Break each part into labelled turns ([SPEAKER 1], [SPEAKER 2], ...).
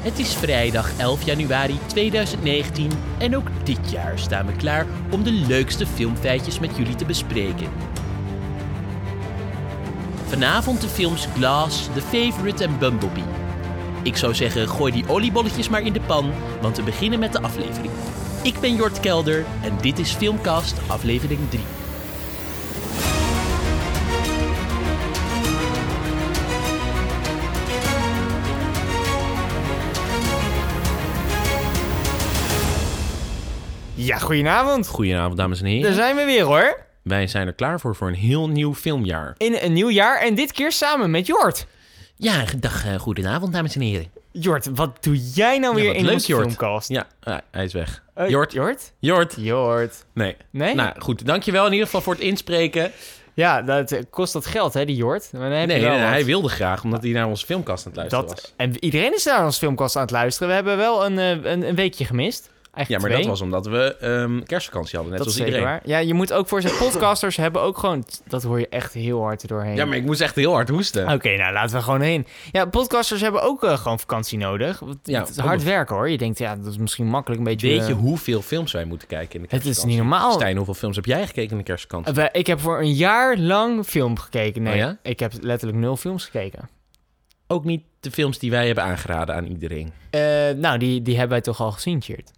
[SPEAKER 1] Het is vrijdag 11 januari 2019 en ook dit jaar staan we klaar om de leukste filmfeitjes met jullie te bespreken. Vanavond de films Glass, The Favorite en Bumblebee. Ik zou zeggen, gooi die oliebolletjes maar in de pan, want we beginnen met de aflevering. Ik ben Jort Kelder en dit is Filmcast aflevering 3.
[SPEAKER 2] Ja, goedenavond.
[SPEAKER 1] Goedenavond dames en
[SPEAKER 2] Daar
[SPEAKER 1] heren.
[SPEAKER 2] zijn we weer hoor.
[SPEAKER 1] Wij zijn er klaar voor voor een heel nieuw filmjaar.
[SPEAKER 2] In een nieuw jaar en dit keer samen met Jort.
[SPEAKER 1] Ja, dag, eh, goedenavond dames en heren.
[SPEAKER 2] Jort, wat doe jij nou
[SPEAKER 1] Ja,
[SPEAKER 2] weer
[SPEAKER 1] wat
[SPEAKER 2] in
[SPEAKER 1] leuk,
[SPEAKER 2] onze
[SPEAKER 1] Jort.
[SPEAKER 2] filmcast?
[SPEAKER 1] Ja, ah, hij is weg.
[SPEAKER 2] Eh,
[SPEAKER 1] Jort.
[SPEAKER 2] Jort?
[SPEAKER 1] Jort.
[SPEAKER 2] Jort.
[SPEAKER 1] Nee.
[SPEAKER 2] Nee?
[SPEAKER 1] Nou goed, dankjewel in ieder geval voor het inspreken.
[SPEAKER 2] Ja, dat eh, kost dat geld hè, die Jort. Maar dan heb
[SPEAKER 1] Nee,
[SPEAKER 2] je wel
[SPEAKER 1] nee,
[SPEAKER 2] wat.
[SPEAKER 1] hij wilde graag, omdat hij naar onze filmkast aan het luisteren
[SPEAKER 2] dat,
[SPEAKER 1] was.
[SPEAKER 2] En iedereen is naar onze filmcast aan het luisteren. We hebben wel een, eh, een, een weekje gemist. Eigenlijk
[SPEAKER 1] Ja, maar
[SPEAKER 2] twee.
[SPEAKER 1] dat was omdat we ehm, kerstvakantie hadden, net
[SPEAKER 2] Dat is
[SPEAKER 1] zoals
[SPEAKER 2] zeker
[SPEAKER 1] iedereen.
[SPEAKER 2] waar. Ja, je moet ook voor zijn podcasters hebben ook gewoon... Dat hoor je echt heel hard er doorheen.
[SPEAKER 1] Ja, maar ik moest echt heel hard hoesten.
[SPEAKER 2] Oké, nou laten we gewoon heen. Ja, podcasters hebben ook eh, gewoon vakantie nodig. Want
[SPEAKER 1] Ja,
[SPEAKER 2] het is
[SPEAKER 1] ook
[SPEAKER 2] hard
[SPEAKER 1] nog.
[SPEAKER 2] werken hoor. Je denkt, ja, dat is misschien makkelijk een beetje...
[SPEAKER 1] Weet je
[SPEAKER 2] eh,
[SPEAKER 1] hoeveel films wij moeten kijken in de
[SPEAKER 2] Het is
[SPEAKER 1] kerstvakantie?
[SPEAKER 2] niet normaal. Eh,
[SPEAKER 1] Stijn, hoeveel films heb jij gekeken in de kerstvakantie?
[SPEAKER 2] We- Ik heb voor een jaar lang film gekeken. Nee,
[SPEAKER 1] Oh ja?
[SPEAKER 2] ik heb letterlijk nul films gekeken.
[SPEAKER 1] Ook niet de films die wij hebben aangeraden aan iedereen.
[SPEAKER 2] Eh, nou, die, die hebben wij toch al gezien, Tjeerd?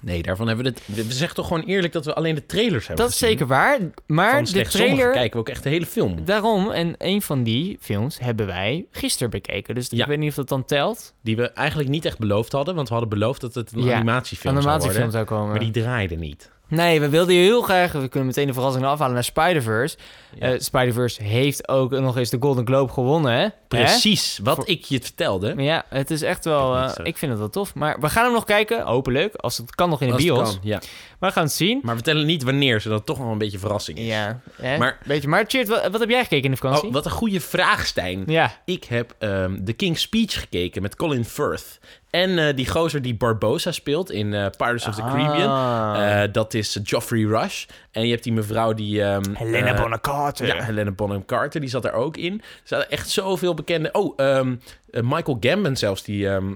[SPEAKER 1] Nee, daarvan hebben we het... We we zeggen toch gewoon eerlijk dat we alleen de trailers hebben
[SPEAKER 2] Dat is
[SPEAKER 1] gezien?
[SPEAKER 2] zeker waar. Maar
[SPEAKER 1] Van
[SPEAKER 2] de
[SPEAKER 1] slechts sommige
[SPEAKER 2] trailer...
[SPEAKER 1] kijken we ook echt de hele film.
[SPEAKER 2] Daarom, en een van die films hebben wij gisteren bekeken. Dus
[SPEAKER 1] Ja.
[SPEAKER 2] ik weet niet of dat dan telt.
[SPEAKER 1] Die we eigenlijk niet echt beloofd hadden, want we hadden beloofd dat het een
[SPEAKER 2] Ja,
[SPEAKER 1] animatiefilm
[SPEAKER 2] Van de
[SPEAKER 1] zou
[SPEAKER 2] animatiefilm
[SPEAKER 1] worden.
[SPEAKER 2] zou komen.
[SPEAKER 1] Maar die draaide niet.
[SPEAKER 2] Nee, we wilden heel graag... We kunnen meteen de verrassing afhalen naar Spider-Verse.
[SPEAKER 1] Ja.
[SPEAKER 2] Eh, Spider-Verse heeft ook nog eens de Golden Globe gewonnen, hè? Hè?
[SPEAKER 1] Precies, wat
[SPEAKER 2] Voor-
[SPEAKER 1] ik je vertelde.
[SPEAKER 2] Maar Ja, het is echt
[SPEAKER 1] Ik
[SPEAKER 2] wel...
[SPEAKER 1] heb
[SPEAKER 2] eh,
[SPEAKER 1] niks
[SPEAKER 2] Ik,
[SPEAKER 1] terug.
[SPEAKER 2] vind het wel tof. Maar we gaan hem nog kijken, hopelijk. Als het kan nog in de
[SPEAKER 1] Als het
[SPEAKER 2] bios.
[SPEAKER 1] kan, ja.
[SPEAKER 2] Maar we gaan het zien.
[SPEAKER 1] Maar vertel niet wanneer, zodat het toch wel een beetje verrassing is.
[SPEAKER 2] Ja, hè?
[SPEAKER 1] Maar-
[SPEAKER 2] beetje. Maar Tjeerd, wat, wat heb jij gekeken in de vakantie?
[SPEAKER 1] Oh, wat een goede vraag, Stijn.
[SPEAKER 2] Ja,
[SPEAKER 1] Ik heb ehm The King's Speech gekeken met Colin Firth. En eh, die gozer die Barbosa speelt in eh, Pirates of the Caribbean.
[SPEAKER 2] Ah.
[SPEAKER 1] Eh, dat is Geoffrey Rush. En je hebt die mevrouw die... ehm,
[SPEAKER 2] Helena
[SPEAKER 1] eh,
[SPEAKER 2] Bonham Carter.
[SPEAKER 1] Ja, Helena Bonham Carter, die zat er ook in. Er zaten echt zoveel bekende... Oh, ehm, eh, Michael Gambon zelfs, die ehm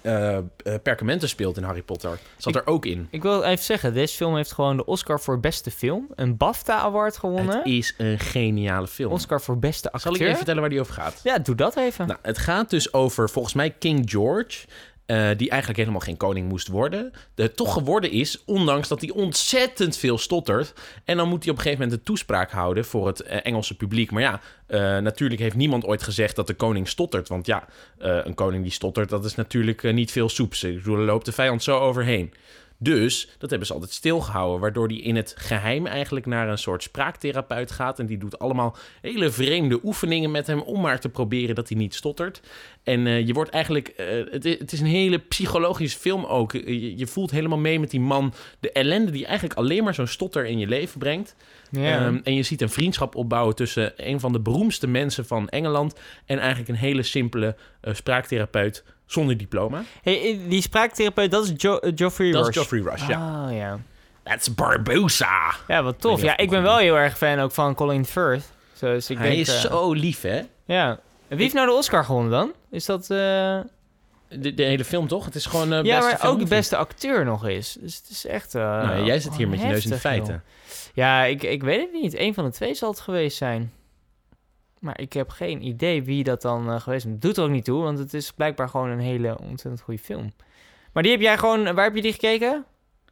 [SPEAKER 1] eh, eh, Perkamenten speelt in Harry Potter. Zat er ook in.
[SPEAKER 2] Ik wil even zeggen, deze film heeft gewoon de Oscar voor beste film, een BAFTA Award gewonnen,
[SPEAKER 1] Het is een geniale film.
[SPEAKER 2] Oscar voor beste
[SPEAKER 1] Zal
[SPEAKER 2] acteur.
[SPEAKER 1] ik even vertellen waar die over gaat?
[SPEAKER 2] Ja, doe dat even.
[SPEAKER 1] Nou, het gaat dus over volgens mij King George. eh, die eigenlijk helemaal geen koning moest worden. De, toch geworden is, ondanks dat hij ontzettend veel stottert. En dan moet hij op een gegeven moment een toespraak houden voor het eh, Engelse publiek. Maar ja, eh, natuurlijk heeft niemand ooit gezegd dat de koning stottert. Want ja, eh, een koning die stottert, dat is natuurlijk eh, niet veel soeps. Ik bedoel, daar loopt de vijand zo overheen. Dus dat hebben ze altijd stilgehouden, waardoor die in het geheim eigenlijk naar een soort spraaktherapeut gaat. En die doet allemaal hele vreemde oefeningen met hem om maar te proberen dat hij niet stottert. En eh, je wordt eigenlijk, eh, het, i- het is een hele psychologische film ook. Eh, Je, je voelt helemaal mee met die man, de ellende die eigenlijk alleen maar zo'n stotter in je leven brengt.
[SPEAKER 2] Ja.
[SPEAKER 1] Ehm, en je ziet een vriendschap opbouwen tussen een van de beroemdste mensen van Engeland en eigenlijk een hele simpele eh, spraaktherapeut zonder diploma.
[SPEAKER 2] hey, eh, die spraaktherapeut, dat is jo eh, Geoffrey
[SPEAKER 1] Dat is
[SPEAKER 2] Rush.
[SPEAKER 1] Geoffrey Rush, ja.
[SPEAKER 2] Oh ja.
[SPEAKER 1] That's Barbosa.
[SPEAKER 2] Ja, wat tof.
[SPEAKER 1] Ik weet niet
[SPEAKER 2] Ja,
[SPEAKER 1] of ik
[SPEAKER 2] ik ben
[SPEAKER 1] hem
[SPEAKER 2] wel heel erg fan ook van Colin Firth. Zo, Dus ik
[SPEAKER 1] Hij
[SPEAKER 2] denk,
[SPEAKER 1] is
[SPEAKER 2] eh,
[SPEAKER 1] zo lief, hè?
[SPEAKER 2] Ja. En Wie heeft nou de Oscar gewonnen dan? Is dat... eh,
[SPEAKER 1] De, de hele film, toch? Het is gewoon... eh
[SPEAKER 2] Ja,
[SPEAKER 1] beste
[SPEAKER 2] maar
[SPEAKER 1] film.
[SPEAKER 2] ook de beste acteur nog is. Dus het is echt... eh,
[SPEAKER 1] Nou, jij zit hier met je neus in de
[SPEAKER 2] heftig,
[SPEAKER 1] feiten.
[SPEAKER 2] joh. Ja, ik, ik weet het niet. Eén van de twee zal het geweest zijn. Maar ik heb geen idee wie dat dan eh, geweest is. Doet er ook niet toe, want het is blijkbaar gewoon een hele ontzettend goede film. Maar die heb jij gewoon... Waar heb je die gekeken?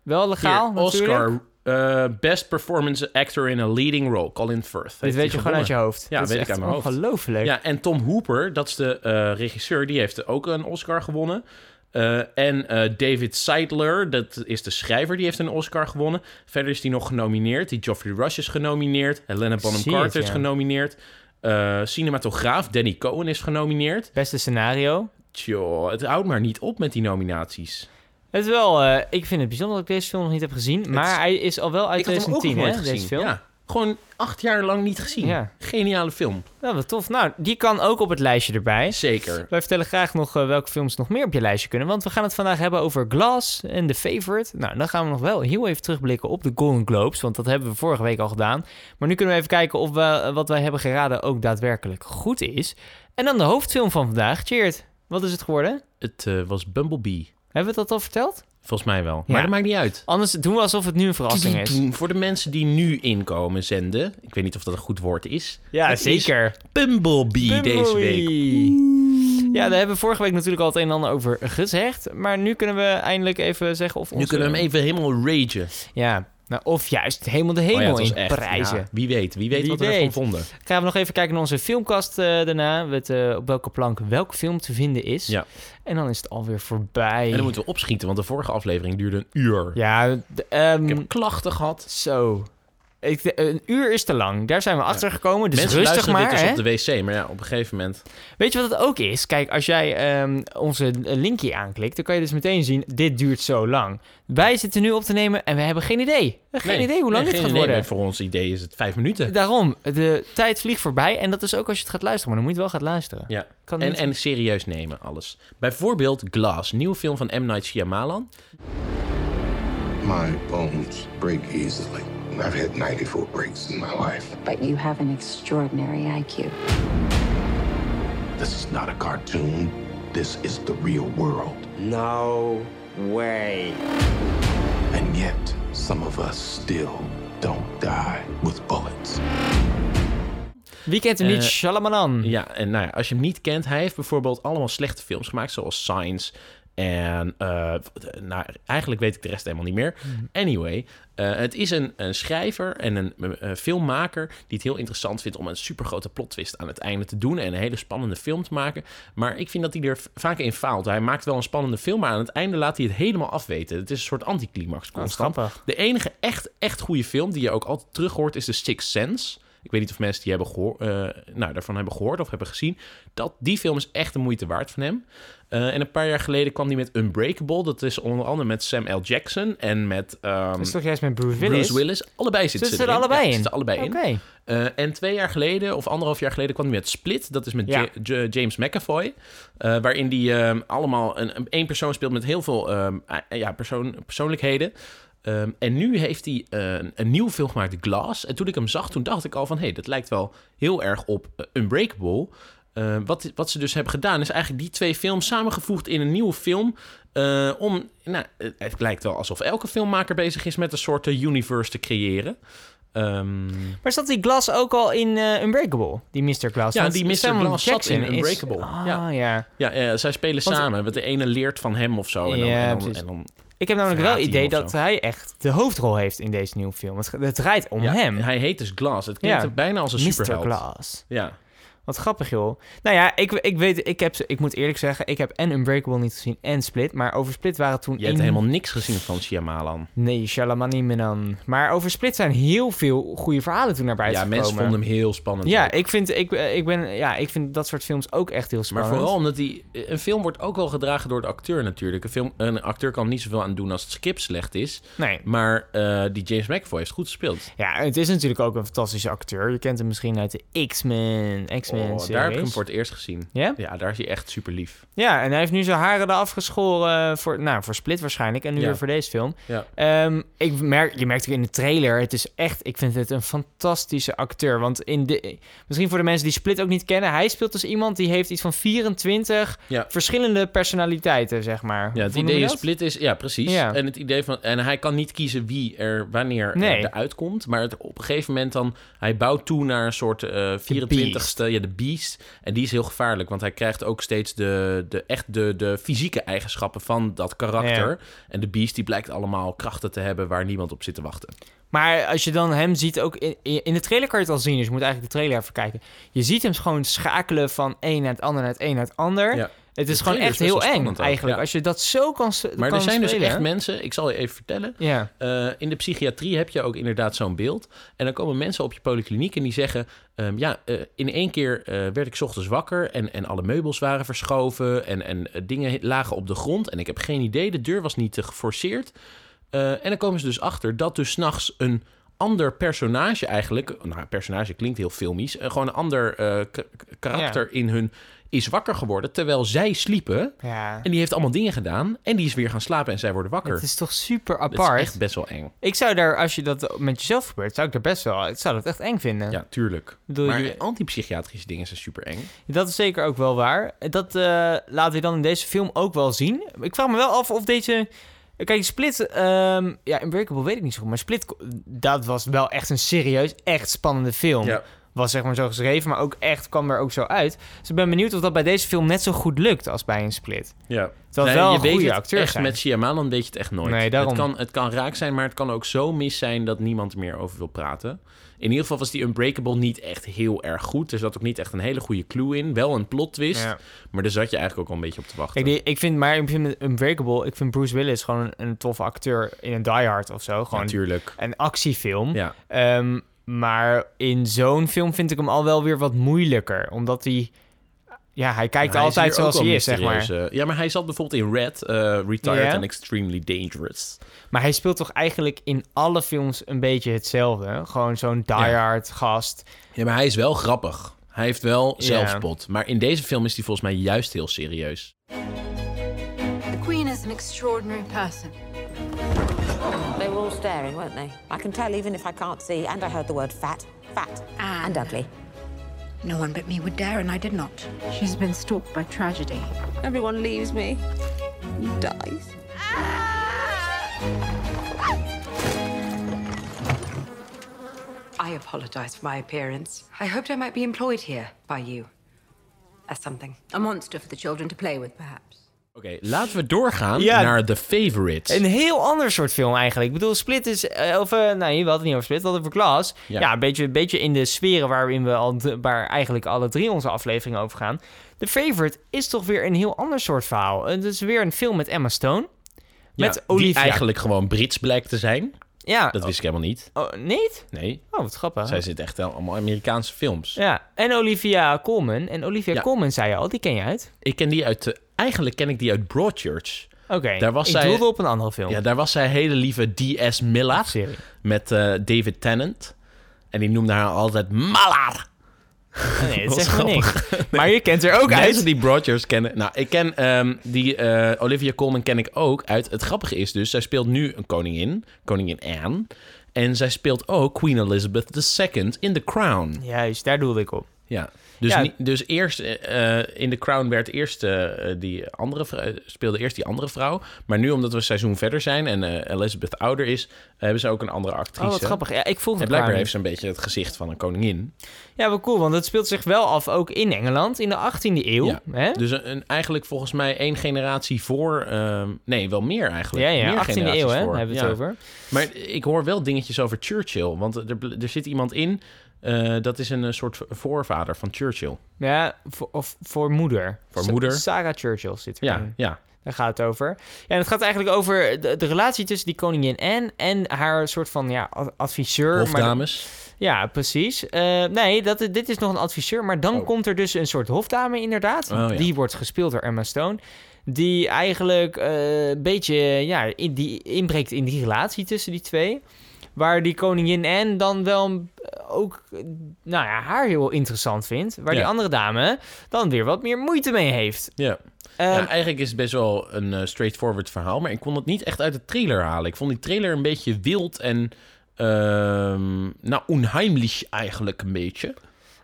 [SPEAKER 2] Wel legaal,
[SPEAKER 1] Hier,
[SPEAKER 2] natuurlijk.
[SPEAKER 1] Oscar, eh, Best Performance Actor in a Leading Role, Colin Firth.
[SPEAKER 2] Dit
[SPEAKER 1] Heeft
[SPEAKER 2] weet je
[SPEAKER 1] die
[SPEAKER 2] gewoon uit je
[SPEAKER 1] gewonnen.
[SPEAKER 2] hoofd.
[SPEAKER 1] Ja,
[SPEAKER 2] dat
[SPEAKER 1] weet
[SPEAKER 2] is
[SPEAKER 1] ik
[SPEAKER 2] echt
[SPEAKER 1] uit mijn hoofd.
[SPEAKER 2] ongelooflijk.
[SPEAKER 1] Ja, en Tom Hooper, dat is de eh, regisseur, die heeft ook een Oscar gewonnen. Eh, en eh, David Seidler, dat is de schrijver, die heeft een Oscar gewonnen. Verder is die nog genomineerd. Die Geoffrey Rush is genomineerd. Helena Bonham
[SPEAKER 2] zie het,
[SPEAKER 1] Carter is
[SPEAKER 2] ja.
[SPEAKER 1] genomineerd. Eh, cinematograaf Danny Cohen is genomineerd.
[SPEAKER 2] Beste scenario.
[SPEAKER 1] Tjoh, het houdt maar niet op met die nominaties.
[SPEAKER 2] Het is wel, eh, ik vind het bijzonder dat ik deze film nog niet heb gezien. Maar
[SPEAKER 1] is-
[SPEAKER 2] hij is al wel uit
[SPEAKER 1] Ik had hem ook
[SPEAKER 2] 2010,
[SPEAKER 1] nog
[SPEAKER 2] hè,
[SPEAKER 1] nooit gezien.
[SPEAKER 2] deze film.
[SPEAKER 1] Ja, gewoon acht jaar lang niet gezien.
[SPEAKER 2] Ja.
[SPEAKER 1] Geniale film.
[SPEAKER 2] Nou, wat tof. Nou, die kan ook op het lijstje erbij.
[SPEAKER 1] Zeker.
[SPEAKER 2] Wij vertellen graag nog eh, welke films nog meer op je lijstje kunnen. Want we gaan het vandaag hebben over Glass en The Favorite. Nou, dan gaan we nog wel heel even terugblikken op de Golden Globes. Want dat hebben we vorige week al gedaan. Maar nu kunnen we even kijken of we, eh, wat wij hebben geraden ook daadwerkelijk goed is. En dan de hoofdfilm van vandaag. Cheers. Wat is het geworden?
[SPEAKER 1] Het eh, was Bumblebee.
[SPEAKER 2] Hebben we dat al verteld?
[SPEAKER 1] Volgens mij wel.
[SPEAKER 2] Ja.
[SPEAKER 1] Maar dat maakt niet uit.
[SPEAKER 2] Anders doen we alsof het nu een verrassing is.
[SPEAKER 1] Voor de mensen die nu inkomen zenden. Ik weet niet of dat een goed woord is.
[SPEAKER 2] Ja,
[SPEAKER 1] Het is
[SPEAKER 2] zeker.
[SPEAKER 1] Bumblebee deze week.
[SPEAKER 2] Ja, daar hebben we vorige week natuurlijk al het een en ander over gezegd. Maar nu kunnen we eindelijk even zeggen of
[SPEAKER 1] Nu
[SPEAKER 2] onze-
[SPEAKER 1] kunnen we hem even helemaal ragen.
[SPEAKER 2] Ja, nou, of juist helemaal de
[SPEAKER 1] Oh ja,
[SPEAKER 2] hemel
[SPEAKER 1] het was
[SPEAKER 2] in
[SPEAKER 1] echt,
[SPEAKER 2] prijzen.
[SPEAKER 1] ja, wie weet, wie weet
[SPEAKER 2] Wie
[SPEAKER 1] wat we ervan
[SPEAKER 2] weet.
[SPEAKER 1] vonden.
[SPEAKER 2] Gaan we nog even kijken naar onze filmkast eh, daarna. Met, eh, op welke plank welke film te vinden is.
[SPEAKER 1] Ja.
[SPEAKER 2] En dan is het alweer voorbij.
[SPEAKER 1] En dan moeten we opschieten, want de vorige aflevering duurde een uur.
[SPEAKER 2] Ja, de- ehm,
[SPEAKER 1] Ik heb klachten gehad.
[SPEAKER 2] zo. Ik, de- een uur is te lang. Daar zijn we achter gekomen. Dus
[SPEAKER 1] Mensen
[SPEAKER 2] rustig
[SPEAKER 1] luisteren
[SPEAKER 2] maar.
[SPEAKER 1] dit
[SPEAKER 2] hè?
[SPEAKER 1] dus op de wc, maar ja, op een gegeven moment...
[SPEAKER 2] Weet je wat het ook is? Kijk, als jij ehm, onze linkje aanklikt, dan kan je dus meteen zien: dit duurt zo lang. Wij zitten nu op te nemen en we hebben geen idee. We hebben Geen
[SPEAKER 1] Nee,
[SPEAKER 2] idee hoe lang
[SPEAKER 1] nee,
[SPEAKER 2] dit
[SPEAKER 1] geen
[SPEAKER 2] gaat
[SPEAKER 1] idee,
[SPEAKER 2] worden.
[SPEAKER 1] maar voor ons idee is het vijf minuten.
[SPEAKER 2] Daarom, de tijd vliegt voorbij. En dat is ook als je het gaat luisteren. Maar dan moet je het wel gaan luisteren.
[SPEAKER 1] Ja.
[SPEAKER 2] Kan
[SPEAKER 1] En,
[SPEAKER 2] niet-
[SPEAKER 1] en serieus nemen, alles. Bijvoorbeeld Glass, nieuwe film van M. Night Shyamalan.
[SPEAKER 3] My bones break easily. I've had 94 breaks in my life.
[SPEAKER 4] but you have an extraordinary IQ.
[SPEAKER 3] This is not a cartoon. This is the real world.
[SPEAKER 5] No way.
[SPEAKER 3] And yet, some of us still don't die with bullets.
[SPEAKER 2] Wie kent hem niet?
[SPEAKER 1] Eh,
[SPEAKER 2] Shalamanan.
[SPEAKER 1] Ja, en nou ja, als je hem niet kent, hij heeft bijvoorbeeld allemaal slechte films gemaakt, zoals Science. En eh, d- nou, eigenlijk weet ik de rest helemaal niet meer. Anyway, eh, het is een, een schrijver en een eh, filmmaker die het heel interessant vindt om een supergrote plot twist aan het einde te doen en een hele spannende film te maken. Maar ik vind dat hij er v- vaak in faalt. Hij maakt wel een spannende film, maar aan het einde laat hij het helemaal afweten. Het is een soort anticlimax
[SPEAKER 2] Dat is
[SPEAKER 1] constant.
[SPEAKER 2] grappig.
[SPEAKER 1] De enige echt, echt goede film die je ook altijd terug hoort is The Sixth Sense. Ik weet niet of mensen die hebben gehoor, eh, nou, daarvan hebben gehoord of hebben gezien. Dat, die film is echt de moeite waard van hem. Eh, en een paar jaar geleden kwam hij met Unbreakable. Dat is onder andere met Sam L. Jackson en met ehm,
[SPEAKER 2] Dat is toch juist met Bruce Willis?
[SPEAKER 1] Bruce Willis. Allebei zitten
[SPEAKER 2] Zitten ze er
[SPEAKER 1] erin.
[SPEAKER 2] allebei
[SPEAKER 1] Ja,
[SPEAKER 2] in?
[SPEAKER 1] Zitten er allebei in.
[SPEAKER 2] Oké.
[SPEAKER 1] Eh, en twee jaar geleden, of anderhalf jaar geleden, kwam hij met Split. Dat is met
[SPEAKER 2] Ja.
[SPEAKER 1] Ja- J- James McAvoy. eh, waarin hij ehm, allemaal een, een één persoon speelt met heel veel ehm, eh, ja, persoon, persoonlijkheden. Ehm, en nu heeft hij eh, een, een nieuw film gemaakt, Glass. En toen ik hem zag, toen dacht ik al van... hé, hey, dat lijkt wel heel erg op eh, Unbreakable. Eh, wat, wat ze dus hebben gedaan, is eigenlijk die twee films samengevoegd in een nieuwe film. eh, om, nou, het- het lijkt wel alsof elke filmmaker bezig is met een soort eh, universe te creëren. Ehm
[SPEAKER 2] Maar zat die Glas ook al in eh, Unbreakable? Die Mr. Glass?
[SPEAKER 1] Ja,
[SPEAKER 2] Want
[SPEAKER 1] die Mr.
[SPEAKER 2] Samuel
[SPEAKER 1] Glass zat
[SPEAKER 2] Jackson
[SPEAKER 1] in
[SPEAKER 2] is-
[SPEAKER 1] Unbreakable.
[SPEAKER 2] Ah, ja.
[SPEAKER 1] Ja. Ja, eh, zij spelen
[SPEAKER 2] Want-
[SPEAKER 1] samen. Want de ene leert van hem of zo. En dan,
[SPEAKER 2] Ja,
[SPEAKER 1] en dan,
[SPEAKER 2] precies.
[SPEAKER 1] en dan-
[SPEAKER 2] Ik heb namelijk wel
[SPEAKER 1] Verraadt
[SPEAKER 2] het
[SPEAKER 1] hij
[SPEAKER 2] idee
[SPEAKER 1] hem of
[SPEAKER 2] dat
[SPEAKER 1] zo?
[SPEAKER 2] hij echt de hoofdrol heeft in deze nieuwe film. Het, het draait om
[SPEAKER 1] ja,
[SPEAKER 2] hem.
[SPEAKER 1] Hij heet dus Glass. Het klinkt
[SPEAKER 2] Ja.
[SPEAKER 1] bijna als een
[SPEAKER 2] Mr.
[SPEAKER 1] superheld.
[SPEAKER 2] Glass.
[SPEAKER 1] Ja.
[SPEAKER 2] Wat grappig, joh. Nou ja, ik, ik weet, ik, heb, ze- ik moet eerlijk zeggen, ik heb en Unbreakable niet gezien en Split. Maar over Split waren toen...
[SPEAKER 1] Je hebt
[SPEAKER 2] in-
[SPEAKER 1] helemaal niks gezien van Shyamalan.
[SPEAKER 2] Nee, Shalamani Menan. Maar over Split zijn heel veel goede verhalen toen naar
[SPEAKER 1] Ja,
[SPEAKER 2] buiten gekomen.
[SPEAKER 1] mensen vonden hem heel spannend.
[SPEAKER 2] Ja,
[SPEAKER 1] ook.
[SPEAKER 2] ik vind, ik, eh, ik, ben, ja, ik vind dat soort films ook echt heel
[SPEAKER 1] Maar
[SPEAKER 2] spannend.
[SPEAKER 1] vooral omdat die... Een film wordt ook wel gedragen door de acteur natuurlijk. Een, film, een acteur kan niet zoveel aan doen als het script slecht is.
[SPEAKER 2] Nee.
[SPEAKER 1] Maar eh, die James McAvoy heeft goed gespeeld.
[SPEAKER 2] Ja, het is natuurlijk ook een fantastische acteur. Je kent hem misschien uit de X-Men. X-Men
[SPEAKER 1] Oh, daar heb ik hem voor het eerst gezien.
[SPEAKER 2] Ja?
[SPEAKER 1] Ja, daar is hij echt super lief.
[SPEAKER 2] Ja, en hij heeft nu zijn haren eraf geschoren voor, nou, voor Split waarschijnlijk. En nu
[SPEAKER 1] Ja.
[SPEAKER 2] weer voor deze film.
[SPEAKER 1] Ja.
[SPEAKER 2] Ehm, ik merk, je merkt ook in de trailer, het is echt, ik vind het een fantastische acteur. Want in de, misschien voor de mensen die Split ook niet kennen, hij speelt dus iemand die heeft iets van 24
[SPEAKER 1] Ja.
[SPEAKER 2] verschillende personaliteiten, zeg maar.
[SPEAKER 1] Ja, het
[SPEAKER 2] Hoe noem je
[SPEAKER 1] idee is
[SPEAKER 2] dat?
[SPEAKER 1] split is, ja, precies.
[SPEAKER 2] Ja.
[SPEAKER 1] En het idee van, en hij kan niet kiezen wie er wanneer
[SPEAKER 2] Nee.
[SPEAKER 1] er eruit komt, maar het, op een gegeven moment dan, hij bouwt toe naar een soort eh 24ste, ja, de beast. En die is heel gevaarlijk, want hij krijgt ook steeds de, de echt de, de fysieke eigenschappen van dat karakter.
[SPEAKER 2] Ja.
[SPEAKER 1] En de beast die blijkt allemaal krachten te hebben waar niemand op zit te wachten.
[SPEAKER 2] Maar als je dan hem ziet, ook in, in de trailer kan je het al zien. Dus je moet eigenlijk de trailer even kijken. Je ziet hem gewoon schakelen van een naar het ander, naar het een naar het ander.
[SPEAKER 1] Ja.
[SPEAKER 2] Het
[SPEAKER 1] De
[SPEAKER 2] is gewoon
[SPEAKER 1] trailer
[SPEAKER 2] echt
[SPEAKER 1] is best
[SPEAKER 2] heel
[SPEAKER 1] wel
[SPEAKER 2] eng,
[SPEAKER 1] spannend ook,
[SPEAKER 2] eigenlijk.
[SPEAKER 1] ja.
[SPEAKER 2] Als je dat zo kan s-
[SPEAKER 1] Maar
[SPEAKER 2] kan
[SPEAKER 1] er zijn dus
[SPEAKER 2] spelen.
[SPEAKER 1] echt mensen, ik zal je even vertellen,
[SPEAKER 2] Ja,
[SPEAKER 1] Eh, in de psychiatrie heb je ook inderdaad zo'n beeld. En dan komen mensen op je polykliniek en die zeggen... ehm, ja, eh, in één keer eh, werd ik 's ochtends wakker en, en alle meubels waren verschoven... en, en eh, dingen lagen op de grond en ik heb geen idee. De deur was niet eh, geforceerd. Eh, en dan komen ze dus achter dat dus s'nachts een ander personage eigenlijk... Nou, personage klinkt heel filmisch. eh, gewoon een ander eh, k- k- karakter in hun is wakker geworden terwijl zij sliepen.
[SPEAKER 2] Ja.
[SPEAKER 1] En die heeft allemaal dingen gedaan. En die is weer gaan slapen en zij worden wakker.
[SPEAKER 2] Het is toch super
[SPEAKER 1] Dat is
[SPEAKER 2] apart.
[SPEAKER 1] echt best wel eng.
[SPEAKER 2] Ik zou daar, als je dat met jezelf gebeurt, zou ik daar best wel, ik zou dat echt eng vinden.
[SPEAKER 1] Ja, tuurlijk.
[SPEAKER 2] Bedoel,
[SPEAKER 1] maar
[SPEAKER 2] je-
[SPEAKER 1] antipsychiatrische dingen zijn super eng.
[SPEAKER 2] Dat is zeker ook wel waar. Dat eh, laten we dan in deze film ook wel zien. Ik vraag me wel af of deze... Kijk, Split... ehm ja, Unbreakable weet ik niet zo goed. Maar Split, dat was wel echt een serieus, echt spannende film.
[SPEAKER 1] Ja.
[SPEAKER 2] Was zeg maar zo geschreven, maar ook echt kwam er ook zo uit. Dus ik ben benieuwd of dat bij deze film net zo goed lukt als bij een Split.
[SPEAKER 1] Ja.
[SPEAKER 2] Terwijl het wel
[SPEAKER 1] je
[SPEAKER 2] een goede
[SPEAKER 1] weet het
[SPEAKER 2] acteur
[SPEAKER 1] echt,
[SPEAKER 2] zijn.
[SPEAKER 1] Met Shyamalan weet je het echt nooit.
[SPEAKER 2] Nee, daarom.
[SPEAKER 1] het, kan, het kan raak zijn, maar het kan ook zo mis zijn dat niemand er meer over wil praten. In ieder geval was die Unbreakable niet echt heel erg goed. Er zat ook niet echt een hele goede clue in. Wel een plot twist,
[SPEAKER 2] Ja.
[SPEAKER 1] maar daar zat je eigenlijk ook al een beetje op te wachten.
[SPEAKER 2] Kijk, die, ik vind, maar ik vind met Unbreakable, ik vind Bruce Willis gewoon een, een toffe acteur in een Die Hard of zo. Gewoon
[SPEAKER 1] Natuurlijk.
[SPEAKER 2] een actiefilm.
[SPEAKER 1] Ja.
[SPEAKER 2] Ehm, maar in zo'n film vind ik hem al wel weer wat moeilijker. Omdat hij... Ja, hij kijkt
[SPEAKER 1] Hij is
[SPEAKER 2] altijd
[SPEAKER 1] hier ook
[SPEAKER 2] zoals
[SPEAKER 1] wel
[SPEAKER 2] hij is, zeg maar.
[SPEAKER 1] mysterieus, eh, Ja, maar hij zat bijvoorbeeld in Red, eh, Retired
[SPEAKER 2] Ja.
[SPEAKER 1] and Extremely Dangerous.
[SPEAKER 2] Maar hij speelt toch eigenlijk in alle films een beetje hetzelfde. Gewoon zo'n diehard gast.
[SPEAKER 1] Ja, maar hij is wel grappig. Hij heeft wel
[SPEAKER 2] Ja.
[SPEAKER 1] zelfspot. Maar in deze film is hij volgens mij juist heel serieus.
[SPEAKER 6] The Queen is an extraordinary person.
[SPEAKER 7] They were all staring, weren't they? I can tell even if I can't see, and I heard the word fat, fat,
[SPEAKER 6] Ah.
[SPEAKER 7] and ugly.
[SPEAKER 6] No one but me would dare, and I did not. She's been stalked by tragedy.
[SPEAKER 7] Everyone leaves me. Dies.
[SPEAKER 8] I apologize for my appearance. I hoped I might be employed here by you as something.
[SPEAKER 6] A monster for the children to play with, perhaps.
[SPEAKER 1] Oké, laten we doorgaan
[SPEAKER 2] Ja.
[SPEAKER 1] naar The Favourite.
[SPEAKER 2] Een heel ander soort film eigenlijk. Ik bedoel, Split is... eh, Of, eh, nee, we hadden het niet over Split, we hadden het over Glass. Ja,
[SPEAKER 1] Ja.
[SPEAKER 2] een, beetje, een beetje in de sferen waarin we al... d- Waar eigenlijk alle drie onze afleveringen over gaan. The Favorite is toch weer een heel ander soort verhaal. Het is weer een film met Emma Stone. Met
[SPEAKER 1] Ja,
[SPEAKER 2] Olivia.
[SPEAKER 1] Die eigenlijk gewoon Brits blijkt te zijn.
[SPEAKER 2] Ja.
[SPEAKER 1] Dat wist ik helemaal niet.
[SPEAKER 2] Oh, niet?
[SPEAKER 1] Nee,
[SPEAKER 2] Oh, wat grappig.
[SPEAKER 1] zij zit echt wel allemaal Amerikaanse films.
[SPEAKER 2] Ja, en Olivia Colman. En Olivia
[SPEAKER 1] Ja.
[SPEAKER 2] Colman zei je al, die ken je uit.
[SPEAKER 1] Ik ken die uit... eh, eigenlijk ken ik die uit Broadchurch.
[SPEAKER 2] Oké,
[SPEAKER 1] Daar was
[SPEAKER 2] ik
[SPEAKER 1] zij-
[SPEAKER 2] doelde op een andere film.
[SPEAKER 1] Ja, daar was zij hele lieve D.S. Miller
[SPEAKER 2] Oh. Serie.
[SPEAKER 1] met eh, David Tennant. En die noemde haar altijd Mallar.
[SPEAKER 2] nee, dat
[SPEAKER 1] was
[SPEAKER 2] zegt me niks. Maar je kent er ook
[SPEAKER 1] Ook
[SPEAKER 2] uit.
[SPEAKER 1] mensen die Broadchurch kennen. Nou, ik ken ehm, die eh, Olivia Colman ken ik ook uit. Het grappige is dus, zij speelt nu een koningin, koningin Anne. En zij speelt ook Queen Elizabeth II in The Crown.
[SPEAKER 2] Juist, daar doelde ik op. Oh,
[SPEAKER 1] Ja. Dus,
[SPEAKER 2] Ja.
[SPEAKER 1] niet- dus eerst eh, eh, in The Crown werd eerst eh, die andere vrou- speelde eerst die andere vrouw. Maar nu, omdat we een seizoen verder zijn en eh, Elizabeth ouder is, hebben ze ook een andere actrice.
[SPEAKER 2] Oh, wat grappig. Ja, ik volg
[SPEAKER 1] En
[SPEAKER 2] het
[SPEAKER 1] blijkbaar heeft ze een beetje het gezicht van een koningin.
[SPEAKER 2] Ja, wel cool, want het speelt zich wel af ook in Engeland in de 18e eeuw.
[SPEAKER 1] Ja.
[SPEAKER 2] Hè?
[SPEAKER 1] Dus een, een- eigenlijk volgens mij één generatie voor. ehm, nee, wel meer eigenlijk.
[SPEAKER 2] ja, ja,
[SPEAKER 1] meer
[SPEAKER 2] 18e eeuw,
[SPEAKER 1] generaties
[SPEAKER 2] hè,
[SPEAKER 1] voor.
[SPEAKER 2] daar hebben we
[SPEAKER 1] Ja.
[SPEAKER 2] het over.
[SPEAKER 1] Maar ik hoor wel dingetjes over Churchill. Want er, bl- er zit iemand in. eh, dat is een eh, soort voorvader van Churchill.
[SPEAKER 2] Ja, voor, of voor moeder.
[SPEAKER 1] Voor
[SPEAKER 2] Sa-
[SPEAKER 1] moeder.
[SPEAKER 2] Sarah Churchill zit erin.
[SPEAKER 1] Ja, ja.
[SPEAKER 2] Daar gaat het over. Ja, en het gaat eigenlijk over de, de relatie tussen die koningin Anne en haar soort van ja, ad- adviseur. maar-
[SPEAKER 1] Hofdames.
[SPEAKER 2] ja, precies. Eh, nee, dat, dit is nog een adviseur. Maar dan komt er dus een soort hofdame inderdaad.
[SPEAKER 1] Oh, ja.
[SPEAKER 2] Die wordt gespeeld door Emma Stone. Die eigenlijk eh, een beetje ja, in, die inbreekt in die relatie tussen die twee. Waar die koningin Anne dan wel eh, ook eh, nou ja, haar heel interessant vindt. Waar die
[SPEAKER 1] Ja.
[SPEAKER 2] andere dame dan weer wat meer moeite mee heeft.
[SPEAKER 1] Ja.
[SPEAKER 2] Ehm,
[SPEAKER 1] ja, eigenlijk is het best wel een eh, straightforward verhaal, maar ik kon het niet echt uit de trailer halen. Ik vond die trailer een beetje wild en, ehm, nou, onheimlich eigenlijk een beetje.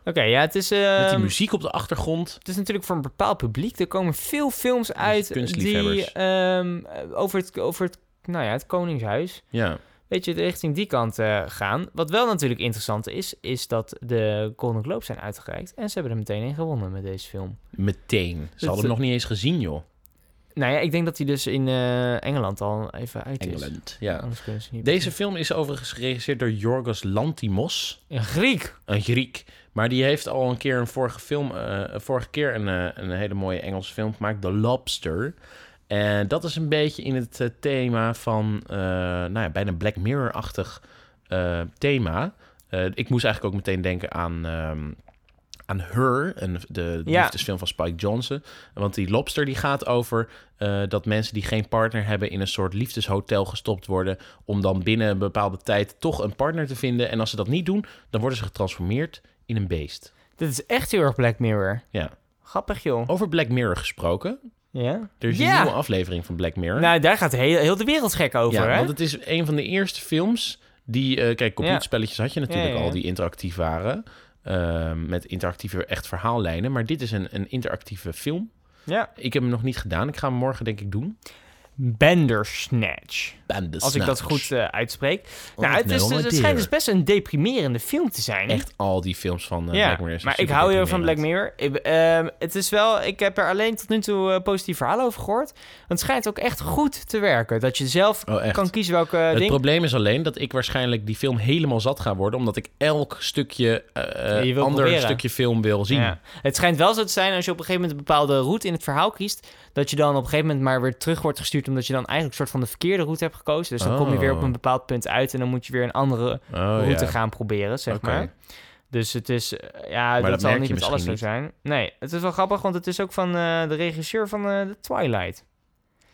[SPEAKER 2] Oké, ja, het is... eh,
[SPEAKER 1] Met die muziek op de achtergrond.
[SPEAKER 2] het is natuurlijk voor een bepaald publiek. Er komen veel films uit die
[SPEAKER 1] kunstliefhebbers.
[SPEAKER 2] ehm, over, het, over het, nou ja, het Koningshuis.
[SPEAKER 1] Ja,
[SPEAKER 2] weet je, richting die kant eh, gaan. Wat wel natuurlijk interessant is, is dat de Golden Globes zijn uitgereikt. En ze hebben er meteen in gewonnen met deze film.
[SPEAKER 1] meteen. Ze hadden hem nog niet eens gezien, joh.
[SPEAKER 2] Nou ja, ik denk dat hij dus in eh, Engeland al even uit is. Oh,
[SPEAKER 1] Engeland, ja.
[SPEAKER 2] Anders kunnen ze niet
[SPEAKER 1] Deze film is overigens geregisseerd door Jorgos Lantimos,
[SPEAKER 2] Een Griek.
[SPEAKER 1] een Griek. Maar die heeft al een keer een vorige film, eh, vorige keer een, eh, een hele mooie Engelse film gemaakt, The Lobster. En dat is een beetje in het eh, thema van, eh, nou ja, bijna Black Mirror-achtig eh, thema. Eh, ik moest eigenlijk ook meteen denken aan, ehm, aan Her, een, de
[SPEAKER 2] Ja.
[SPEAKER 1] liefdesfilm van Spike Jonze. Want die Lobster die gaat over eh, dat mensen die geen partner hebben... in een soort liefdeshotel gestopt worden... om dan binnen een bepaalde tijd toch een partner te vinden. En als ze dat niet doen, dan worden ze getransformeerd in een beest.
[SPEAKER 2] Dit is echt heel erg Black Mirror.
[SPEAKER 1] Ja.
[SPEAKER 2] Grappig, joh.
[SPEAKER 1] Over Black Mirror gesproken.
[SPEAKER 2] Ja?
[SPEAKER 1] Er is
[SPEAKER 2] ja.
[SPEAKER 1] een nieuwe aflevering van Black Mirror.
[SPEAKER 2] Nou, daar gaat heel, heel de wereld gek over,
[SPEAKER 1] ja,
[SPEAKER 2] hè?
[SPEAKER 1] want het is een van de eerste films die... eh kijk, computerspelletjes had je natuurlijk
[SPEAKER 2] Ja, ja, ja.
[SPEAKER 1] al die interactief waren. eh, met interactieve echt verhaallijnen. Maar dit is een, een interactieve film.
[SPEAKER 2] Ja.
[SPEAKER 1] Ik heb hem nog niet gedaan. Ik ga hem morgen denk ik doen.
[SPEAKER 2] Bandersnatch.
[SPEAKER 1] Bandersnatch.
[SPEAKER 2] Als ik dat goed eh, uitspreek. nou,
[SPEAKER 1] ik
[SPEAKER 2] het, is,
[SPEAKER 1] nou
[SPEAKER 2] dus-
[SPEAKER 1] maar
[SPEAKER 2] het schijnt
[SPEAKER 1] deer.
[SPEAKER 2] dus best een deprimerende film te zijn.
[SPEAKER 1] Echt al die films van eh,
[SPEAKER 2] eh, ja,
[SPEAKER 1] Black Mirror. zijn
[SPEAKER 2] maar ik
[SPEAKER 1] super
[SPEAKER 2] hou heel erg van Black
[SPEAKER 1] deprimerend.
[SPEAKER 2] Mirror. Ik, ehm, het is wel, ik heb er alleen tot nu toe eh, positief verhalen over gehoord. Want het schijnt ook echt goed te werken. Dat je zelf
[SPEAKER 1] Oh, echt?
[SPEAKER 2] kan kiezen welke
[SPEAKER 1] Het
[SPEAKER 2] dingen...
[SPEAKER 1] probleem is alleen dat ik waarschijnlijk die film helemaal zat ga worden. Omdat ik elk stukje eh,
[SPEAKER 2] je wil
[SPEAKER 1] ander
[SPEAKER 2] proberen.
[SPEAKER 1] stukje film wil zien.
[SPEAKER 2] Ja. Het schijnt wel zo te zijn als je op een gegeven moment een bepaalde route in het verhaal kiest, dat je dan op een gegeven moment maar weer terug wordt gestuurd omdat je dan eigenlijk een soort van de verkeerde route hebt gekozen. Dus dan kom je weer op een bepaald punt uit en dan moet je weer een andere
[SPEAKER 1] Oh,
[SPEAKER 2] route
[SPEAKER 1] ja.
[SPEAKER 2] gaan proberen, zeg
[SPEAKER 1] Oké.
[SPEAKER 2] maar. Dus het is, eh, ja, dat,
[SPEAKER 1] dat
[SPEAKER 2] zal
[SPEAKER 1] merk
[SPEAKER 2] niet
[SPEAKER 1] je
[SPEAKER 2] met alles zo
[SPEAKER 1] misschien
[SPEAKER 2] zijn. Nee, het is wel grappig, want het is ook van eh, de regisseur van eh, The Twilight.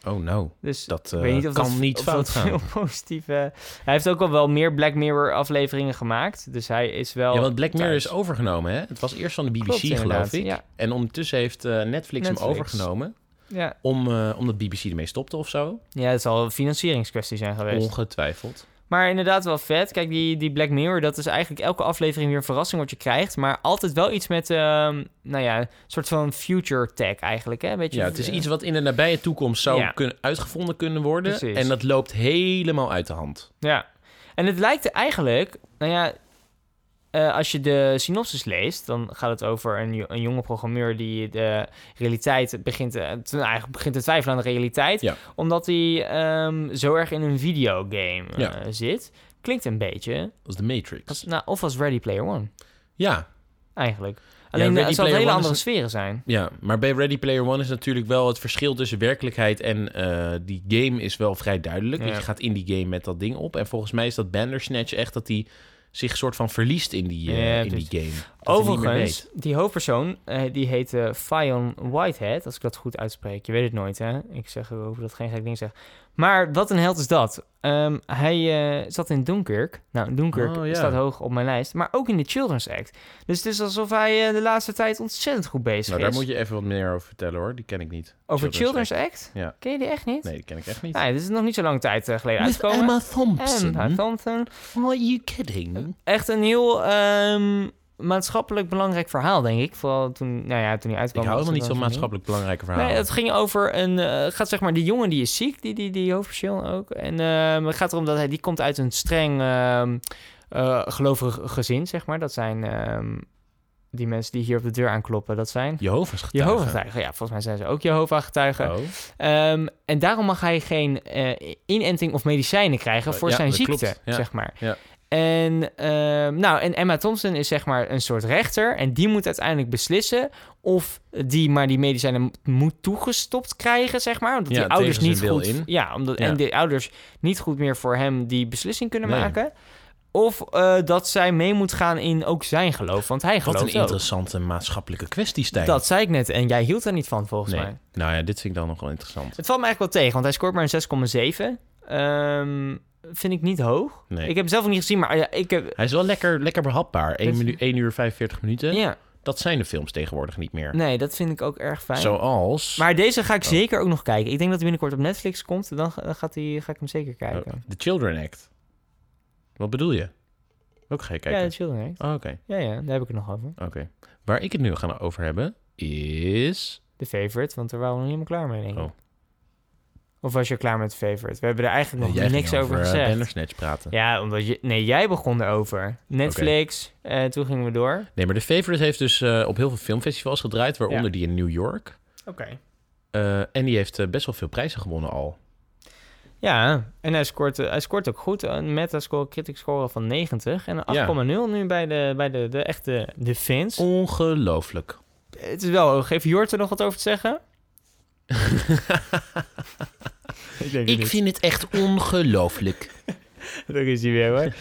[SPEAKER 1] Oh no.
[SPEAKER 2] Dus
[SPEAKER 1] Dat,
[SPEAKER 2] ik
[SPEAKER 1] eh,
[SPEAKER 2] weet niet of
[SPEAKER 1] kan
[SPEAKER 2] dat,
[SPEAKER 1] niet
[SPEAKER 2] of
[SPEAKER 1] fout
[SPEAKER 2] dat
[SPEAKER 1] gaan.
[SPEAKER 2] Heel positief. eh, hij heeft ook al wel meer Black Mirror afleveringen gemaakt, dus hij is wel.
[SPEAKER 1] Ja, want Black Mirror
[SPEAKER 2] thuis.
[SPEAKER 1] is overgenomen, hè? Het was eerst van de BBC,
[SPEAKER 2] Klopt, inderdaad,
[SPEAKER 1] geloof ik.
[SPEAKER 2] ja.
[SPEAKER 1] En ondertussen heeft eh, Netflix,
[SPEAKER 2] Netflix.
[SPEAKER 1] hem overgenomen.
[SPEAKER 2] Ja.
[SPEAKER 1] Om, eh, omdat BBC ermee stopte of zo.
[SPEAKER 2] ja, het zal een financieringskwestie zijn geweest.
[SPEAKER 1] Oh. Ongetwijfeld.
[SPEAKER 2] Maar inderdaad wel vet. Kijk, die, die Black Mirror, dat is eigenlijk elke aflevering weer een verrassing wat je krijgt. Maar altijd wel iets met, ehm, nou ja, een soort van future tech eigenlijk. Hè? eh, Weet je,
[SPEAKER 1] Ja, het is iets wat in de nabije toekomst zou
[SPEAKER 2] Ja.
[SPEAKER 1] kunnen, uitgevonden kunnen worden.
[SPEAKER 2] Precies.
[SPEAKER 1] En dat loopt helemaal uit de hand.
[SPEAKER 2] Ja. En het lijkt er eigenlijk, nou ja, eh, als je de synopsis leest, dan gaat het over een, jo- een jonge programmeur die de realiteit begint, eh, te- nou, eigenlijk begint te twijfelen aan de realiteit.
[SPEAKER 1] Ja.
[SPEAKER 2] Omdat hij ehm, zo erg in een videogame eh,
[SPEAKER 1] Ja.
[SPEAKER 2] zit. Klinkt een beetje,
[SPEAKER 1] Dat is de Matrix.
[SPEAKER 2] als, nou, of als Ready Player One.
[SPEAKER 1] Ja,
[SPEAKER 2] eigenlijk. Alleen eh,
[SPEAKER 1] Ready
[SPEAKER 2] het zal
[SPEAKER 1] Player
[SPEAKER 2] hele
[SPEAKER 1] One
[SPEAKER 2] andere
[SPEAKER 1] is
[SPEAKER 2] sferen zijn.
[SPEAKER 1] Ja, maar bij Ready Player One is natuurlijk wel het verschil tussen werkelijkheid en eh, die game is wel vrij duidelijk.
[SPEAKER 2] Ja.
[SPEAKER 1] Want je gaat in die game met dat ding op. En volgens mij is dat Bandersnatch echt dat hij zich soort van verliest in die, eh,
[SPEAKER 2] Ja,
[SPEAKER 1] in die
[SPEAKER 2] precies.
[SPEAKER 1] game. Dat hij niet meer
[SPEAKER 2] Overigens,
[SPEAKER 1] weet.
[SPEAKER 2] die hoofdpersoon, eh, die heet eh Fion Whitehead, als ik dat goed uitspreek. Je weet het nooit, hè? Ik zeg over dat geen gek ding zeg. Maar wat een held is dat. Ehm, hij eh, zat in Dunkirk. Nou, Dunkirk
[SPEAKER 1] Oh, ja.
[SPEAKER 2] staat hoog op mijn lijst. Maar ook in de Children's Act. Dus het is alsof hij eh, de laatste tijd ontzettend goed bezig
[SPEAKER 1] Nou,
[SPEAKER 2] is.
[SPEAKER 1] daar moet je even wat meer over vertellen hoor. Die ken ik niet.
[SPEAKER 2] Over Children's, Act?
[SPEAKER 1] Ja.
[SPEAKER 2] Ken je die echt niet?
[SPEAKER 1] Nee, die ken ik echt niet.
[SPEAKER 2] Nou, ja, dit is nog niet zo lang tijd eh, geleden uitgekomen.
[SPEAKER 1] Thompson.
[SPEAKER 2] Emma Thompson.
[SPEAKER 1] Are you kidding?
[SPEAKER 2] echt een heel ehm, maatschappelijk belangrijk verhaal, denk ik. Vooral toen, nou ja, toen
[SPEAKER 1] Ik
[SPEAKER 2] hij uitkwam.
[SPEAKER 1] hou
[SPEAKER 2] was
[SPEAKER 1] helemaal niet van
[SPEAKER 2] het wel zo'n
[SPEAKER 1] maatschappelijk belangrijke
[SPEAKER 2] ding.
[SPEAKER 1] verhalen.
[SPEAKER 2] Nee, het ging over een... eh, gaat zeg maar, die jongen die is ziek, die, die, die hoofdpersoon ook. En ehm, het gaat erom dat hij... Die komt uit een streng ehm, eh, gelovig gezin, zeg maar. Dat zijn ehm, die mensen die hier op de deur aankloppen. Dat zijn...
[SPEAKER 1] Jehovah's getuigen.
[SPEAKER 2] Jehovah-getuigen. Ja, volgens mij zijn ze ook Jehovah-getuigen.
[SPEAKER 1] Oh.
[SPEAKER 2] Ehm, en daarom mag hij geen eh, inenting of medicijnen krijgen voor
[SPEAKER 1] Eh, Ja,
[SPEAKER 2] zijn
[SPEAKER 1] dat
[SPEAKER 2] ziekte,
[SPEAKER 1] klopt. Ja.
[SPEAKER 2] zeg maar.
[SPEAKER 1] Ja.
[SPEAKER 2] En, ehm, nou, en Emma Thompson is zeg maar een soort rechter. En die moet uiteindelijk beslissen of die maar die medicijnen m- moet toegestopt krijgen, zeg maar. Omdat
[SPEAKER 1] Ja,
[SPEAKER 2] die ouders
[SPEAKER 1] tegen
[SPEAKER 2] niet
[SPEAKER 1] zijn wil
[SPEAKER 2] goed...
[SPEAKER 1] in.
[SPEAKER 2] Ja, omdat,
[SPEAKER 1] Ja.
[SPEAKER 2] en die ouders niet goed meer voor hem die beslissing kunnen
[SPEAKER 1] Nee.
[SPEAKER 2] maken. Of eh, dat zij mee moet gaan in ook zijn geloof, want hij
[SPEAKER 1] Wat
[SPEAKER 2] gelooft
[SPEAKER 1] een
[SPEAKER 2] ook.
[SPEAKER 1] interessante maatschappelijke kwestie, Stijn.
[SPEAKER 2] Dat zei ik net en jij hield daar niet van, volgens
[SPEAKER 1] nee.
[SPEAKER 2] mij.
[SPEAKER 1] Nou ja, dit vind ik dan nog wel interessant.
[SPEAKER 2] Het valt me eigenlijk wel tegen, want hij scoort maar een 6,7. Ehm, vind ik niet hoog.
[SPEAKER 1] Nee.
[SPEAKER 2] Ik heb hem zelf nog niet gezien, maar ah ja, ik heb...
[SPEAKER 1] Hij is wel lekker, lekker behapbaar. 1,
[SPEAKER 2] Dit-
[SPEAKER 1] minu- 1 uur 45 minuten.
[SPEAKER 2] Ja,
[SPEAKER 1] Dat zijn de films tegenwoordig niet meer.
[SPEAKER 2] nee, dat vind ik ook erg fijn.
[SPEAKER 1] Zoals
[SPEAKER 2] Maar deze
[SPEAKER 1] Oh.
[SPEAKER 2] ga ik zeker ook nog kijken. Ik denk dat hij binnenkort op Netflix komt. en Dan ga, dan gaat hij, ga ik hem zeker
[SPEAKER 1] de
[SPEAKER 2] kijken.
[SPEAKER 1] eh, The Children Act. Wat bedoel je? Ook ga je
[SPEAKER 2] ja,
[SPEAKER 1] kijken?
[SPEAKER 2] The Children Act.
[SPEAKER 1] Oh, Oké,
[SPEAKER 2] Ja, ja, daar heb ik het nog over.
[SPEAKER 1] oké. Waar ik het nu gaan over hebben is...
[SPEAKER 2] De Favorite, want daar waren we nog niet helemaal klaar mee, denk ik.
[SPEAKER 1] Oh.
[SPEAKER 2] Of was je klaar met The Favorite? We hebben er eigenlijk nog
[SPEAKER 1] Jij ging
[SPEAKER 2] niks over
[SPEAKER 1] eh,
[SPEAKER 2] gezegd.
[SPEAKER 1] Bandersnatch praten.
[SPEAKER 2] ja, omdat je... Nee, jij begon erover. Netflix, eh, toen gingen we door.
[SPEAKER 1] Nee, maar The Favorite heeft dus eh, op heel veel filmfestivals gedraaid. Waaronder
[SPEAKER 2] Ja.
[SPEAKER 1] die in New York.
[SPEAKER 2] Oké.
[SPEAKER 1] Eh, en die heeft eh, best wel veel prijzen gewonnen al.
[SPEAKER 2] Ja, en hij scoort, eh, hij scoort ook goed. Een metascore, critic score van 90 en een
[SPEAKER 1] Ja.
[SPEAKER 2] 8,0 nu bij de, bij de, de echte de fans.
[SPEAKER 1] Ongelooflijk.
[SPEAKER 2] Het is wel hoog. Heeft Jort er nog wat over te zeggen? ik denk
[SPEAKER 1] Ik vind het echt ongelooflijk.
[SPEAKER 2] Daar is hij weer hoor.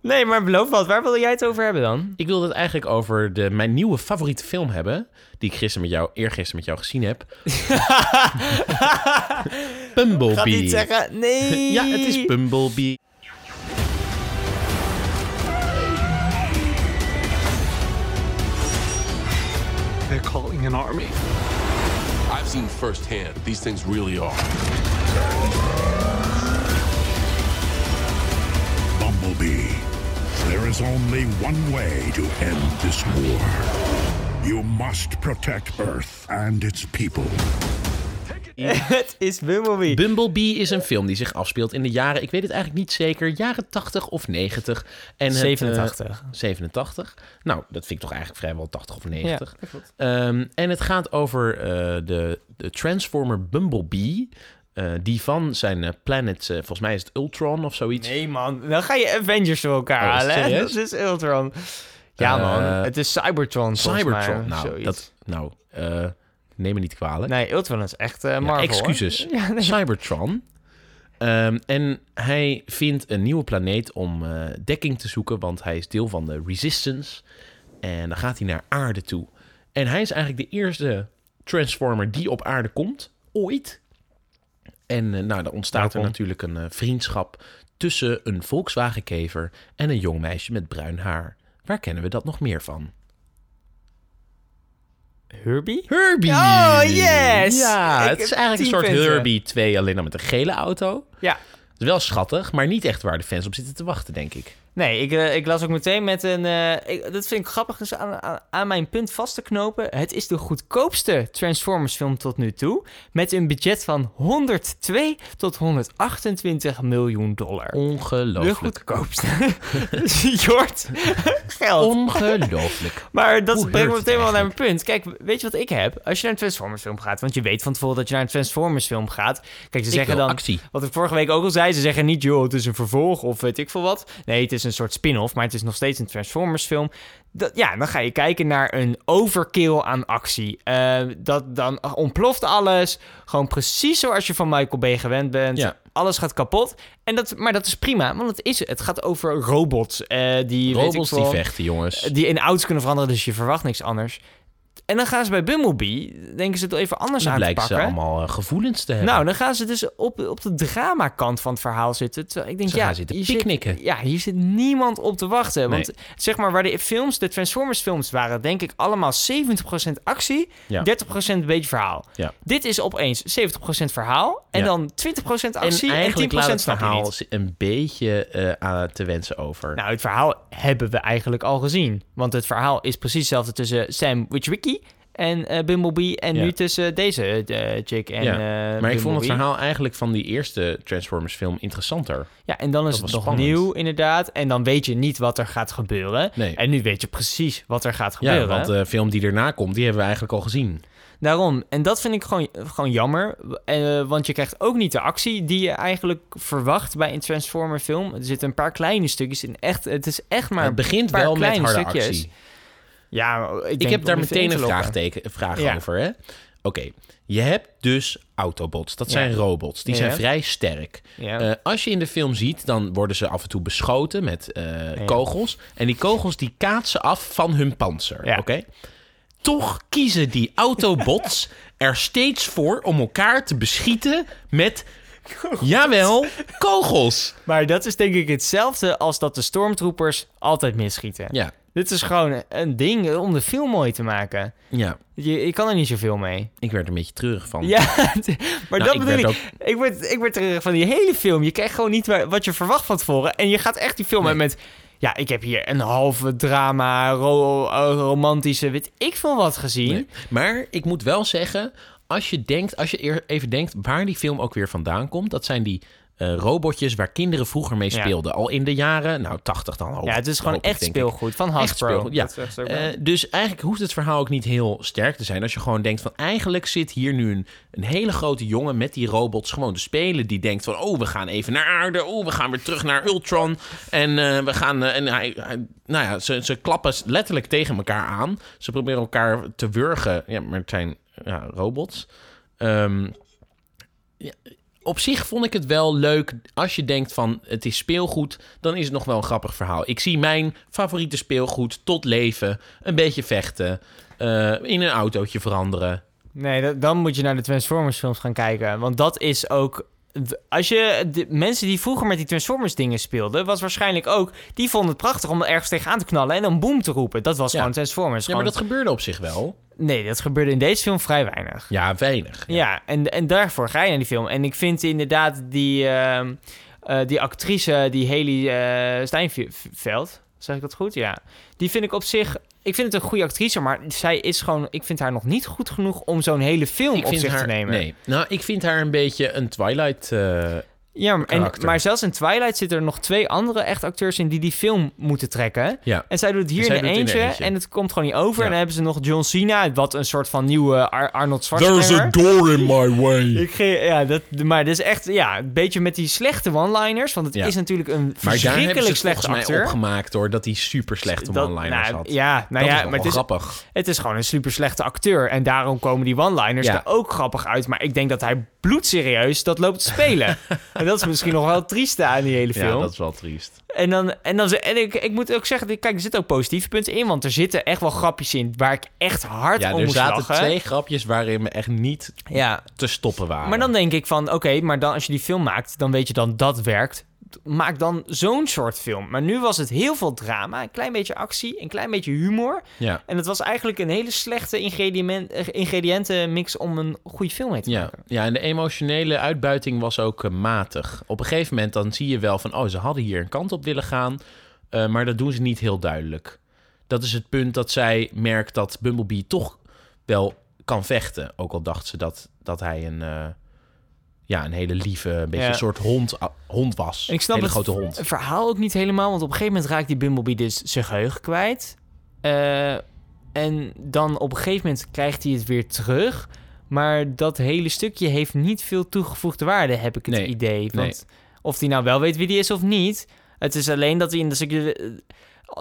[SPEAKER 2] nee, maar beloof wat. Waar wilde jij het over hebben dan?
[SPEAKER 1] Ik wil het eigenlijk over de, mijn nieuwe favoriete film hebben. Die ik gisteren met jou, eergisteren met jou gezien heb. Bumblebee.
[SPEAKER 2] Gaat niet zeggen? Nee.
[SPEAKER 1] Ja, het is Bumblebee.
[SPEAKER 9] they're calling an army.
[SPEAKER 3] I've seen firsthand these things really are.
[SPEAKER 10] Bumblebee. There is only one way to end this war. You must protect Earth and its people.
[SPEAKER 2] het is Bumblebee.
[SPEAKER 1] Bumblebee is een film die zich afspeelt in de jaren, ik weet het eigenlijk niet zeker, jaren 80 of 90. En het, eh,
[SPEAKER 2] 87.
[SPEAKER 1] 87. Nou, dat vind ik toch eigenlijk vrijwel 80 of 90.
[SPEAKER 2] Ja, dat klopt.
[SPEAKER 1] Ehm, en het gaat over eh, de, de Transformer Bumblebee. eh, die van zijn eh, planet, eh, volgens mij is het Ultron of zoiets.
[SPEAKER 2] Nee, man. Dan ga je Avengers voor elkaar
[SPEAKER 1] Oh, is het
[SPEAKER 2] halen. hè?
[SPEAKER 1] serieus?
[SPEAKER 2] Dat is Ultron. Ja,
[SPEAKER 1] Eh,
[SPEAKER 2] man. Het is Cybertron, volgens
[SPEAKER 1] Cybertron.
[SPEAKER 2] mij, eh,
[SPEAKER 1] nou,
[SPEAKER 2] zoiets.
[SPEAKER 1] dat, nou eh, neem me niet kwalijk.
[SPEAKER 2] Nee, Ultron is echt eh,
[SPEAKER 1] Ja,
[SPEAKER 2] Marvel. hoor.
[SPEAKER 1] excuses.
[SPEAKER 2] Ja, nee.
[SPEAKER 1] Cybertron. Ehm, en hij vindt een nieuwe planeet om eh, dekking te zoeken, want hij is deel van de Resistance. En dan gaat hij naar aarde toe. En hij is eigenlijk de eerste Transformer die op aarde komt, ooit. En eh, nou, dan ontstaat er
[SPEAKER 2] Welkom.
[SPEAKER 1] natuurlijk een eh, vriendschap tussen een Volkswagenkever en een jong meisje met bruin haar. Waar kennen we dat nog meer van?
[SPEAKER 2] Herbie?
[SPEAKER 1] Herbie!
[SPEAKER 2] Oh, yes!
[SPEAKER 1] Ja,
[SPEAKER 2] Ik
[SPEAKER 1] het is
[SPEAKER 2] heb
[SPEAKER 1] eigenlijk een
[SPEAKER 2] tien
[SPEAKER 1] soort
[SPEAKER 2] punten.
[SPEAKER 1] Herbie 2, alleen dan met een gele auto.
[SPEAKER 2] Ja.
[SPEAKER 1] Het is wel schattig, maar niet echt waar de fans op zitten te wachten, denk ik.
[SPEAKER 2] Nee, ik, eh, ik las ook meteen met een... eh, ik- dat vind ik grappig dus aan, aan, aan mijn punt vast te knopen. Het is de goedkoopste Transformers film tot nu toe. Met een budget van 102 tot 128 miljoen dollar. De
[SPEAKER 1] Ongelooflijk.
[SPEAKER 2] goedkoopste. Jord, geld.
[SPEAKER 1] Ongelooflijk.
[SPEAKER 2] Maar dat
[SPEAKER 1] Hoe
[SPEAKER 2] brengt me
[SPEAKER 1] heurt het
[SPEAKER 2] meteen wel naar mijn
[SPEAKER 1] eigenlijk?
[SPEAKER 2] punt. Kijk, weet je wat ik heb? Als je naar een Transformers film gaat, want je weet van tevoren dat je naar een Transformers film gaat. Kijk, ze zeggen
[SPEAKER 1] wil
[SPEAKER 2] dan...
[SPEAKER 1] actie.
[SPEAKER 2] Wat ik vorige week ook al zei, ze zeggen niet, joh, het is een vervolg of weet ik veel wat. Nee, het is een soort spin-off, maar het is nog steeds een Transformers film. Dat, ja, dan ga je kijken naar een overkill aan actie. Eh, dat, dan ontploft alles. Gewoon precies zoals je van Michael Bay gewend bent.
[SPEAKER 1] Ja.
[SPEAKER 2] Alles gaat kapot. En dat, maar dat is prima, want het, is, het gaat over robots. eh, die, weet ik Eh,
[SPEAKER 1] Robots die
[SPEAKER 2] veel-
[SPEAKER 1] vechten, jongens.
[SPEAKER 2] die in auto's kunnen veranderen, dus je verwacht niks anders. En dan gaan ze bij Bumblebee, denken ze het even anders
[SPEAKER 1] Dan
[SPEAKER 2] aan nou, te
[SPEAKER 1] blijken ze
[SPEAKER 2] pakken.
[SPEAKER 1] allemaal eh, gevoelens te hebben.
[SPEAKER 2] Nou, dan gaan ze dus op, op de drama-kant van het verhaal zitten. Terwijl ik denk,
[SPEAKER 1] Ze
[SPEAKER 2] ja,
[SPEAKER 1] gaan zitten
[SPEAKER 2] hier zit-
[SPEAKER 1] picknicken.
[SPEAKER 2] ja, hier zit niemand op te wachten. Want
[SPEAKER 1] Nee.
[SPEAKER 2] zeg maar, waar de films, de Transformers-films waren, denk ik allemaal 70% actie,
[SPEAKER 1] Ja.
[SPEAKER 2] 30% een beetje verhaal.
[SPEAKER 1] Ja.
[SPEAKER 2] Dit is opeens 70% verhaal en
[SPEAKER 1] Ja.
[SPEAKER 2] dan 20% actie nou, en, 10%
[SPEAKER 1] laat het
[SPEAKER 2] snap je
[SPEAKER 1] verhaal
[SPEAKER 2] niet.
[SPEAKER 1] een beetje eh, aan te wensen over.
[SPEAKER 2] Nou, het verhaal hebben we eigenlijk al gezien. Want het verhaal is precies hetzelfde tussen Sam Witwicky en eh, Bumblebee... en
[SPEAKER 1] Ja.
[SPEAKER 2] nu tussen deze eh, Jake en
[SPEAKER 1] Ja.
[SPEAKER 2] eh,
[SPEAKER 1] maar ik vond het
[SPEAKER 2] Bumblebee.
[SPEAKER 1] verhaal eigenlijk van die eerste Transformers film interessanter.
[SPEAKER 2] Ja, en dan is
[SPEAKER 1] Dat
[SPEAKER 2] het
[SPEAKER 1] was
[SPEAKER 2] nog
[SPEAKER 1] spannend.
[SPEAKER 2] nieuw inderdaad. En dan weet je niet wat er gaat gebeuren.
[SPEAKER 1] Nee.
[SPEAKER 2] En nu weet je precies wat er gaat
[SPEAKER 1] Ja,
[SPEAKER 2] gebeuren.
[SPEAKER 1] want eh, de film die erna komt, die hebben we eigenlijk al gezien.
[SPEAKER 2] Daarom. En dat vind ik gewoon, gewoon jammer. Eh, want je krijgt ook niet de actie die je eigenlijk verwacht bij een Transformer film. Er zitten een paar kleine stukjes in. Echt, het is echt maar
[SPEAKER 1] het begint
[SPEAKER 2] een paar
[SPEAKER 1] wel met
[SPEAKER 2] kleine
[SPEAKER 1] harde
[SPEAKER 2] stukjes.
[SPEAKER 1] actie.
[SPEAKER 2] Ja, ik, denk
[SPEAKER 1] Ik heb
[SPEAKER 2] om
[SPEAKER 1] daar
[SPEAKER 2] even in
[SPEAKER 1] meteen
[SPEAKER 2] te
[SPEAKER 1] een
[SPEAKER 2] lokken.
[SPEAKER 1] vraagteken, een vraag
[SPEAKER 2] Ja.
[SPEAKER 1] over. hè? Oké, je hebt dus Autobots. Dat zijn robots. Die
[SPEAKER 2] Ja.
[SPEAKER 1] zijn vrij sterk.
[SPEAKER 2] Ja.
[SPEAKER 1] Eh, als je in de film ziet, dan worden ze af en toe beschoten met eh, kogels. En die kogels die kaatsen af van hun panzer.
[SPEAKER 2] Ja.
[SPEAKER 1] Oké? Toch kiezen die Autobots er steeds voor om elkaar te beschieten met... Jawel, kogels.
[SPEAKER 2] Maar dat is denk ik hetzelfde als dat de stormtroopers altijd misschieten.
[SPEAKER 1] Ja,
[SPEAKER 2] Dit is gewoon een ding om de film mooi te maken.
[SPEAKER 1] ja.
[SPEAKER 2] Je, ik kan er niet zoveel mee.
[SPEAKER 1] Ik werd er een beetje treurig van.
[SPEAKER 2] Ja, maar dat
[SPEAKER 1] Nou, ik
[SPEAKER 2] bedoel
[SPEAKER 1] werd
[SPEAKER 2] ik.
[SPEAKER 1] ook-
[SPEAKER 2] Ik word, ik word terug van die hele film. Je krijgt gewoon niet wa- wat je verwacht van tevoren. En je gaat echt die film uit met... Ja, ik heb hier een halve drama, ro- eh, romantische, weet ik veel wat gezien.
[SPEAKER 1] Nee. Maar ik moet wel zeggen, als je, denkt, als je eer- even denkt waar die film ook weer vandaan komt, dat zijn die eh, robotjes waar kinderen vroeger mee
[SPEAKER 2] Ja.
[SPEAKER 1] speelden. Al in de jaren, nou, 80 dan al.
[SPEAKER 2] Ja, het is gewoon echt speelgoed van
[SPEAKER 1] Echt
[SPEAKER 2] Hasbro.
[SPEAKER 1] speelgoed, ja.
[SPEAKER 2] Dat zegt ze ook wel.
[SPEAKER 1] Eh, dus eigenlijk hoeft het verhaal ook niet heel sterk te zijn. Als je gewoon denkt van eigenlijk zit hier nu een, een hele grote jongen met die robots gewoon te spelen. Die denkt van oh we gaan even naar aarde. Oh we gaan weer terug naar Ultron. En eh, we gaan eh, en hij, hij- nou ja ze, ze klappen letterlijk tegen elkaar aan. Ze proberen elkaar te wurgen. Ja maar het zijn ja, robots. Ehm, ja, op zich vond ik het wel leuk als je denkt van het is speelgoed, dan is het nog wel een grappig verhaal. Ik zie mijn favoriete speelgoed tot leven, een beetje vechten, eh, in een autootje veranderen.
[SPEAKER 2] Nee, dat- dan moet je naar de Transformers films gaan kijken. Want dat is ook d- als je de mensen die vroeger met die Transformers dingen speelden, was waarschijnlijk ook die vonden het prachtig om er ergens tegenaan te knallen en dan boom te roepen. Dat was
[SPEAKER 1] Ja.
[SPEAKER 2] gewoon Transformers.
[SPEAKER 1] Ja, maar dat
[SPEAKER 2] Gewoon-
[SPEAKER 1] gebeurde op zich wel.
[SPEAKER 2] Nee, dat gebeurde in deze film vrij weinig.
[SPEAKER 1] Ja, weinig.
[SPEAKER 2] Ja, en, en daarvoor ga je naar die film. En ik vind inderdaad die, ehm, eh, die actrice, die Haley eh Steinveld, zeg ik dat goed? Ja. Die vind ik op zich, ik vind het een goede actrice, maar zij is gewoon, ik vind haar nog niet goed genoeg om zo'n hele film op zich
[SPEAKER 1] haar,
[SPEAKER 2] te nemen.
[SPEAKER 1] Nee. Nou, ik vind haar een beetje een Twilight. eh,
[SPEAKER 2] Ja, maar, en,
[SPEAKER 1] karakter.
[SPEAKER 2] maar zelfs in Twilight zitten er nog twee andere echt acteurs in die die film moeten trekken.
[SPEAKER 1] ja.
[SPEAKER 2] En zij doet het hier
[SPEAKER 1] Zij
[SPEAKER 2] in de
[SPEAKER 1] doet het in
[SPEAKER 2] eentje,
[SPEAKER 1] de eentje.
[SPEAKER 2] en het komt gewoon niet over.
[SPEAKER 1] Ja.
[SPEAKER 2] En dan hebben ze nog John Cena, wat een soort van nieuwe Ar- Arnold Schwarzenegger.
[SPEAKER 1] door in my way.
[SPEAKER 2] Ik ge- ja, dat, maar dat is echt ja, een beetje met die slechte one-liners. Want het
[SPEAKER 1] Ja.
[SPEAKER 2] is natuurlijk een
[SPEAKER 1] Maar daar hebben ze
[SPEAKER 2] verschrikkelijk
[SPEAKER 1] het volgens
[SPEAKER 2] slechte
[SPEAKER 1] mij
[SPEAKER 2] acteur.
[SPEAKER 1] opgemaakt hoor, dat hij super slechte
[SPEAKER 2] Dat-
[SPEAKER 1] one-liners
[SPEAKER 2] nou,
[SPEAKER 1] had.
[SPEAKER 2] Ja, nou
[SPEAKER 1] dat
[SPEAKER 2] ja,
[SPEAKER 1] is wel
[SPEAKER 2] maar het is,
[SPEAKER 1] grappig.
[SPEAKER 2] het is gewoon een super slechte acteur. En daarom komen die one-liners
[SPEAKER 1] Ja.
[SPEAKER 2] er ook grappig uit. Maar ik denk dat hij bloedserieus dat loopt te spelen. en dat is misschien nog wel het trieste aan die hele film.
[SPEAKER 1] Ja, dat is wel triest.
[SPEAKER 2] En, dan, en, dan, ze- en ik, ik moet ook zeggen, kijk, er zitten ook positieve punten in. Want er zitten echt wel grapjes in waar ik echt hard
[SPEAKER 1] Ja,
[SPEAKER 2] om
[SPEAKER 1] er
[SPEAKER 2] moest
[SPEAKER 1] zaten
[SPEAKER 2] lachen.
[SPEAKER 1] twee grapjes waarin we echt niet
[SPEAKER 2] Ja,
[SPEAKER 1] te stoppen waren.
[SPEAKER 2] Maar dan denk ik van, oké, maar dan als je die film maakt, dan weet je dan dat werkt. Maak dan zo'n soort film. Maar nu was het heel veel drama, een klein beetje actie, een klein beetje humor.
[SPEAKER 1] Ja.
[SPEAKER 2] En het was eigenlijk een hele slechte ingrediënt, eh, ingrediëntenmix om een goede film mee te
[SPEAKER 1] Ja,
[SPEAKER 2] maken.
[SPEAKER 1] ja, en de emotionele uitbuiting was ook eh, matig. Op een gegeven moment dan zie je wel van... oh, ze hadden hier een kant op willen gaan... eh, maar dat doen ze niet heel duidelijk. Dat is het punt dat zij merkt dat Bumblebee toch wel kan vechten. Ook al dacht ze dat, dat hij een, eh, ja, een hele lieve, een beetje
[SPEAKER 2] Ja.
[SPEAKER 1] een soort hond, ah, hond was.
[SPEAKER 2] Ik snap
[SPEAKER 1] hele
[SPEAKER 2] het
[SPEAKER 1] grote hond.
[SPEAKER 2] v- verhaal ook niet helemaal, want op een gegeven moment raakt die Bumblebee dus zijn geheugen kwijt. Eh, en dan op een gegeven moment krijgt hij het weer terug. Maar dat hele stukje heeft niet veel toegevoegde waarde, heb ik het
[SPEAKER 1] Nee,
[SPEAKER 2] idee.
[SPEAKER 1] nee.
[SPEAKER 2] Want of hij nou wel weet wie die is of niet, het is alleen dat hij in dat stukje... eh,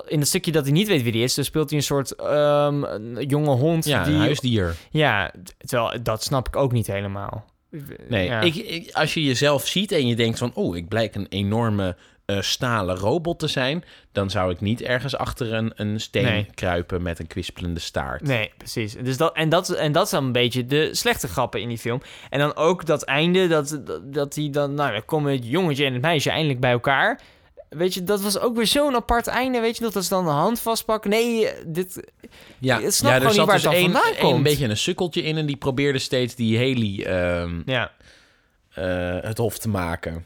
[SPEAKER 2] In het stukje dat hij niet weet wie die is, dan speelt hij een soort ehm, een jonge hond.
[SPEAKER 1] Ja,
[SPEAKER 2] die,
[SPEAKER 1] een huisdier.
[SPEAKER 2] ja, t- terwijl dat snap ik ook niet helemaal.
[SPEAKER 1] Nee,
[SPEAKER 2] Ja.
[SPEAKER 1] ik, ik- als je jezelf ziet en je denkt van... oh, ik blijk een enorme eh, stalen robot te zijn... dan zou ik niet ergens achter een, een steen
[SPEAKER 2] Nee.
[SPEAKER 1] kruipen met een kwispelende staart.
[SPEAKER 2] Nee, precies. Dus dat, en, dat, en dat is dan een beetje de slechte grappen in die film. En dan ook dat einde, dat, dat, dat die dan, nou, dan komen het jongetje en het meisje eindelijk bij elkaar. Weet je, dat was ook weer zo'n apart einde, weet je nog, dat ze dan de hand vastpakken. Nee, eh, dit...
[SPEAKER 1] Ja,
[SPEAKER 2] Ik snap gewoon
[SPEAKER 1] er
[SPEAKER 2] niet
[SPEAKER 1] zat
[SPEAKER 2] waar
[SPEAKER 1] dus
[SPEAKER 2] het dan
[SPEAKER 1] één-
[SPEAKER 2] vandaan
[SPEAKER 1] één
[SPEAKER 2] komt.
[SPEAKER 1] beetje een sukkeltje in en die probeerde steeds die Haley ehm,
[SPEAKER 2] Ja,
[SPEAKER 1] eh, het hof te maken.